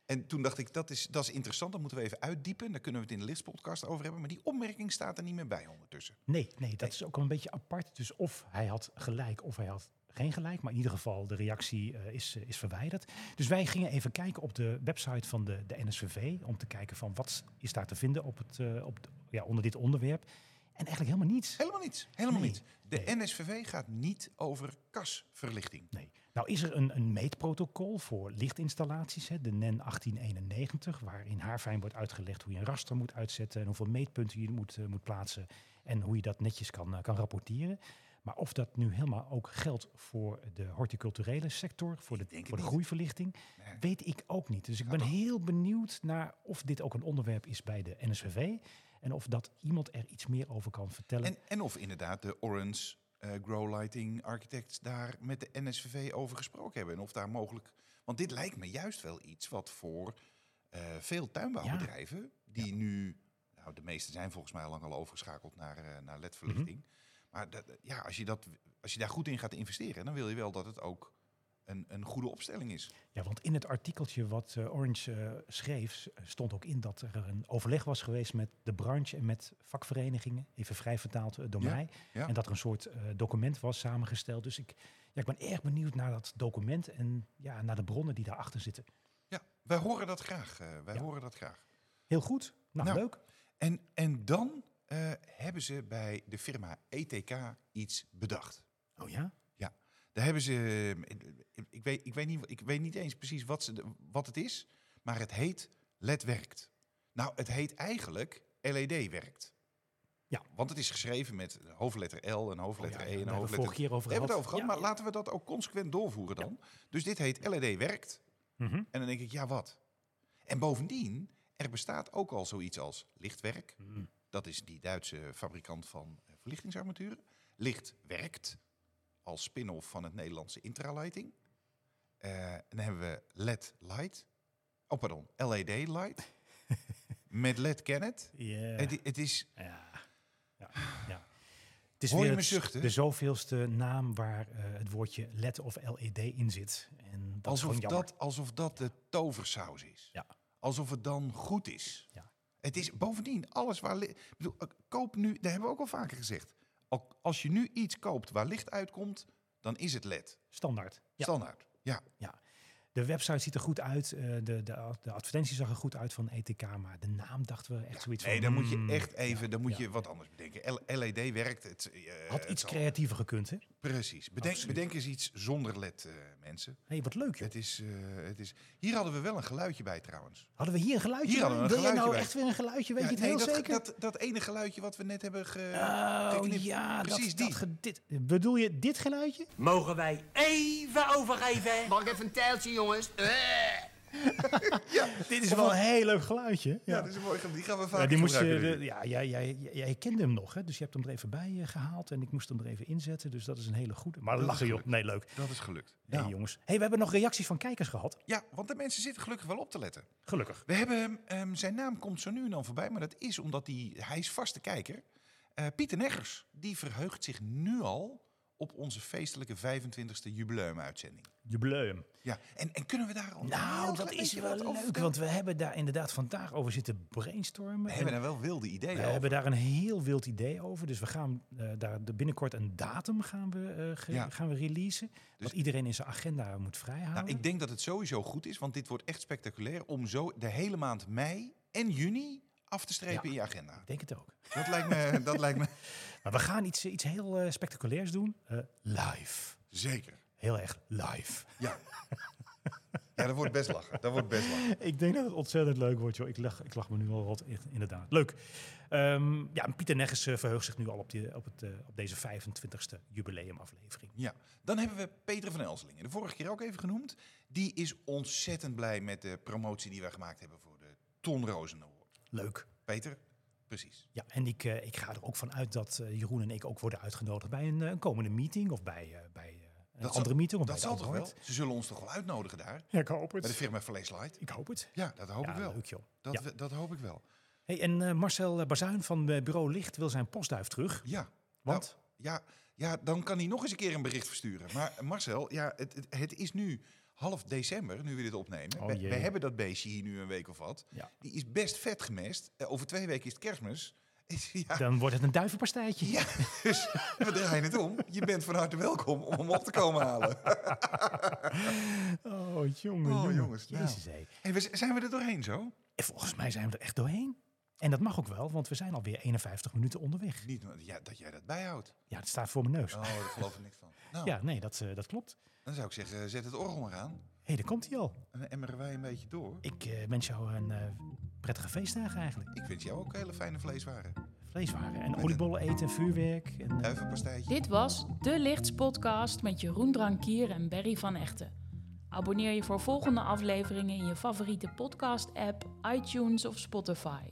En toen dacht ik, dat is, dat is interessant, dat moeten we even uitdiepen. Daar kunnen we het in de listpodcast over hebben. Maar die opmerking staat er niet meer bij ondertussen.
Nee, nee, dat is ook wel een beetje apart. Dus of hij had gelijk of hij had geen gelijk. Maar in ieder geval, de reactie eh, is, eh, is verwijderd. Dus wij gingen even kijken op de website van de, de NSVV. Om te kijken van wat is daar te vinden op het, eh, op, de- ja, onder dit onderwerp. En eigenlijk helemaal niets.
Helemaal niets. Helemaal
Nee.
niet. De
Nee.
NSVV gaat niet over kasverlichting.
Nee. Nou is er een, een meetprotocol voor lichtinstallaties, hè, de E NEN 1891, waarin haarfijn wordt uitgelegd hoe je een raster moet uitzetten en hoeveel meetpunten je moet, eh, moet plaatsen en hoe je dat netjes kan, eh, kan rapporteren. Maar of dat nu helemaal ook geldt voor de horticulturele sector, voor de,
Ik denk het
voor de
niet.
groeiverlichting,
Nee.
weet ik ook niet. Dus ik ben
toch?
heel benieuwd naar of dit ook een onderwerp is bij de NSVV en of dat iemand er iets meer over kan vertellen.
En, en of inderdaad de Orange eh, Grow Lighting Architects daar met de NSVV over gesproken hebben. En of daar mogelijk... Want dit lijkt me juist wel iets wat voor eh, veel tuinbouwbedrijven... die nu... Nou, de meeste zijn volgens mij al lang al overgeschakeld naar, eh, naar ledverlichting.
Mhm.
Maar dat, ja, als, je dat, als je daar goed in gaat investeren... dan wil je wel dat het ook een, een goede opstelling is.
Ja, want in het artikeltje wat eh, Orange eh, schreef, s- stond ook in dat er een overleg was geweest met de branche en met vakverenigingen, even vrij vertaald eh, door
Ja,
mij.
ja.
En dat er een soort eh, document was samengesteld. Dus ik, ja, ik ben erg benieuwd naar dat document en ja, naar de bronnen die daarachter zitten.
Ja, wij horen dat graag. eh, wij
Ja.
horen dat graag.
Heel goed. Nou,
Nou,
leuk.
En, en dan eh, hebben ze bij de firma ETK iets bedacht.
Oh ja?
Daar hebben ze. eh, ik- Ik weet, ik weet, niet, ik weet niet eens precies wat, ze, de- wat het is, maar het heet LED werkt. Nou, het heet eigenlijk LED werkt.
Ja. Oh
Want het is geschreven met een hoofdletter L, een hoofdletter
ja,
E,
daar
een
hebben we
hoofdletter...
vorige keer over
Daar hebben we
gehad.
het over
Ja,
gehad, maar laten we dat ook consequent doorvoeren dan. Dus dit heet LED werkt.
Mhm.
En dan denk ik, ja wat? En bovendien, er bestaat ook al zoiets als lichtwerk.
Mm.
Dat is die Duitse fabrikant van eh, verlichtingsarmaturen. Licht werkt als spin-off van het Nederlandse intralighting. Eh, en dan hebben we LED light. Oh, pardon, LED light.
[LAUGHS]
Met LED Kennet.
Ja.
Het, i- het is,
Ja. ja. ja. Het is
Hoor je
weer
me
het-
zuchten?
de zoveelste naam waar eh, het woordje LED of LED in zit. En dat is
alsof,
gewoon jammer.
dat, alsof dat de toversaus is.
Ja.
Alsof het dan goed is.
Ja.
Het is bovendien alles waar... li- Ik bedoel, eh, koop nu, dat hebben we ook al vaker gezegd. Al- Als je nu iets koopt waar licht uitkomt, dan is het LED.
Standaard. Ja.
Standaard. Ja.
Mm, De website ziet er goed uit. eh, de, de, de advertentie zag er goed uit van ETK. Maar de naam dachten we echt zoiets
Nee,
van...
dan moet je
hmm,
echt even dan moet
ja.
je wat anders bedenken. L- LED werkt. Het, eh,
Had
het
iets
zal-
creatiever gekund, hè?
Precies. Bedenk,
Absoluut.
bedenk eens iets zonder LED, eh, mensen.
hey, wat leuk, joh.
Het is, eh, het is... Hier hadden we wel een geluidje bij trouwens.
Hadden we hier een geluidje?
Hier hadden we een
Wil jij nou
geluidje bij.
echt weer een geluidje? Weet
Ja,
je het
nee,
heel
dat,
zeker?
Dat, dat ene geluidje wat we net hebben ge...
oh,
geknipt.
ja.
Precies
dat, dat
die.
ge- dit, bedoel je dit geluidje?
Mogen wij even overgeven? Mag ik even een tijltje, jongens? Eh.
Dit is wel een heel leuk geluidje.
Ja,
Ja.
[LAUGHS] dat is een mooi. Die gaan we vaak
Ja, die moest je, de- ja, jij, jij, jij- jij kende hem nog, hè? dus je hebt hem er even bij eh, gehaald en ik moest hem er even inzetten. Dus dat is een hele goede. Maar
Dat is
lachen joh,
gelukt.
nee leuk.
Dat is gelukt.
Hey,
Nou,
jongens, hey, we hebben nog reacties van kijkers gehad.
ja, want de mensen zitten gelukkig wel op te letten.
Gelukkig.
We hebben, hem, ehm, zijn naam komt zo nu en dan voorbij, maar dat is omdat die, hij is vaste kijker. Eh, Pieter Neggers, die verheugt zich nu al op onze feestelijke 25e jubileumuitzending.
Jubileum.
Ja, en, en kunnen we daar al een heel
Nou,
klein
dat is
beetje
wel
wat over
leuk,
vertellen?
want we hebben daar inderdaad vandaag over zitten brainstormen.
we hebben
En
daar wel wilde ideeën
we
over.
hebben daar een heel wild idee over. Dus we gaan eh, daar de- binnenkort een datum gaan we, eh, ge-
Ja.
gaan we releasen.
Dus-
wat iedereen in zijn agenda moet vrijhouden.
Nou, ik denk dat het sowieso goed is, want dit wordt echt spectaculair om zo de hele maand mei en juni af te strepen
Ja.
in je agenda.
Ik denk het ook.
Dat lijkt me, dat lijkt me
Maar we gaan iets, iets heel eh, spectaculairs doen. Eh, live.
zeker.
Heel erg live. [LAUGHS]
Ja. ja, dat wordt best lachen. Dat wordt best lachen.
Ik denk dat het ontzettend leuk wordt, joh. Ik lach, ik lach me nu al wat, echt, inderdaad. Leuk. Ehm, ja, en Pieter Negges eh, verheugt zich nu al op, die, op, het, eh, op deze 25e jubileumaflevering.
Ja, dan hebben we Peter van Elslingen, de vorige keer ook even genoemd. Die is ontzettend blij met de promotie die wij gemaakt hebben voor de Ton Rozen Award.
Leuk.
Peter, precies.
Ja, en ik, eh, ik ga er ook van uit dat eh, Jeroen en ik ook worden uitgenodigd bij een, eh, een komende meeting of bij, eh, bij eh, een
zal-
andere meeting. Of
dat
bij
zal
de
toch wel?
Android.
Ze zullen ons toch wel uitnodigen daar?
Ja, ik hoop
Bij de
het.
firma Verleeslight?
Ik hoop het.
Ja, dat hoop
ja,
ik wel.
leuk joh.
Dat,
Ja.
we- dat hoop ik wel.
Hey, en eh, Marcel Bazuin van eh, Bureau Licht wil zijn postduif terug.
Ja.
Want?
Nou, ja, ja, dan kan hij nog eens een keer een bericht versturen. Maar Marcel, ja, het, het, het is nu half december, nu we dit opnemen.
Oh,
we,
jee.
we hebben dat beestje hier nu een week of wat.
Ja.
Die is best vet gemest. Eh, over twee weken is het kerstmis. [LAUGHS] Ja,
Dan wordt het een duivenpastijtje.
ja, dus we draaien het om. Je bent van harte welkom om hem op te komen halen.
Oh, jongen,
Oh,
jongen.
jongens, nou.
Jezus, hé.
[LAUGHS] Hey, we z- zijn we er doorheen zo?
En volgens mij zijn we er echt doorheen. En dat mag ook wel, want we zijn alweer 51 minuten onderweg.
Niet no- ja, dat jij dat bijhoudt.
Ja, het staat voor mijn neus.
Oh, [LAUGHS] daar geloof ik niks van. Nou,
Ja, nee, dat, eh, dat klopt.
dan zou ik zeggen, zet het orgel maar aan.
Hé, hey, daar komt hij al.
En dan emmeren wij een beetje door.
Ik eh, wens jou een eh, prettige feestdagen eigenlijk.
Ik wens jou ook hele fijne vleeswaren.
Vleeswaren en oliebollen eten en vuurwerk. En, eh,
Duivenpastijtje.
Dit was De Lichts Podcast met Jeroen Drankier en Berry van Echten. Abonneer je voor volgende afleveringen in je favoriete podcast-app, iTunes of Spotify.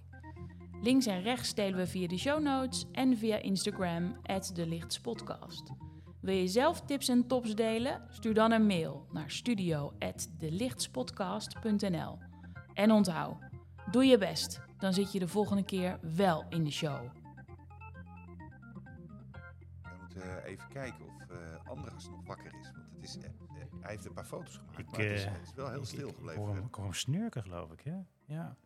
Links en rechts delen we via de show notes en via Instagram, De Lichts Podcast. Wil je zelf tips en tops delen? Stuur dan een mail naar studio.delichtspodcast.nl. En onthoud, doe je best, dan zit je de volgende keer wel in de show.
We moeten even kijken of eh Andras nog wakker is. Want het is, eh, eh, hij heeft een paar foto's gemaakt, maar het is,
eh,
het is wel heel
ik-
stil
ik-
gebleven.
Ik hoor hem, ik hoor hem snurken, geloof ik. Hè? Ja.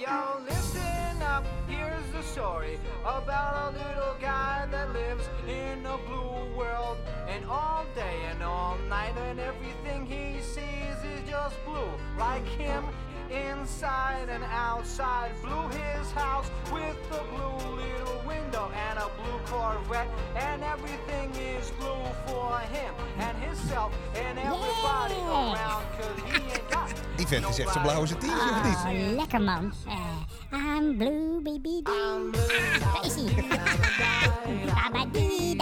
Yo, listen up, here's the story about a little guy that lives in a blue world. And all day and all night, and everything he sees is just blue. Like him, inside and outside. Blue his house with a blue little window and a blue Corvette. And everything is blue for him and himself and everybody
Yeah.
around. Cause he ain't got
Die vent is echt zijn blauwe zijn tientje, of niet?
Oh, lekker man. Eh, I'm blue, baby. Doo. Daar is ie. Babadoo.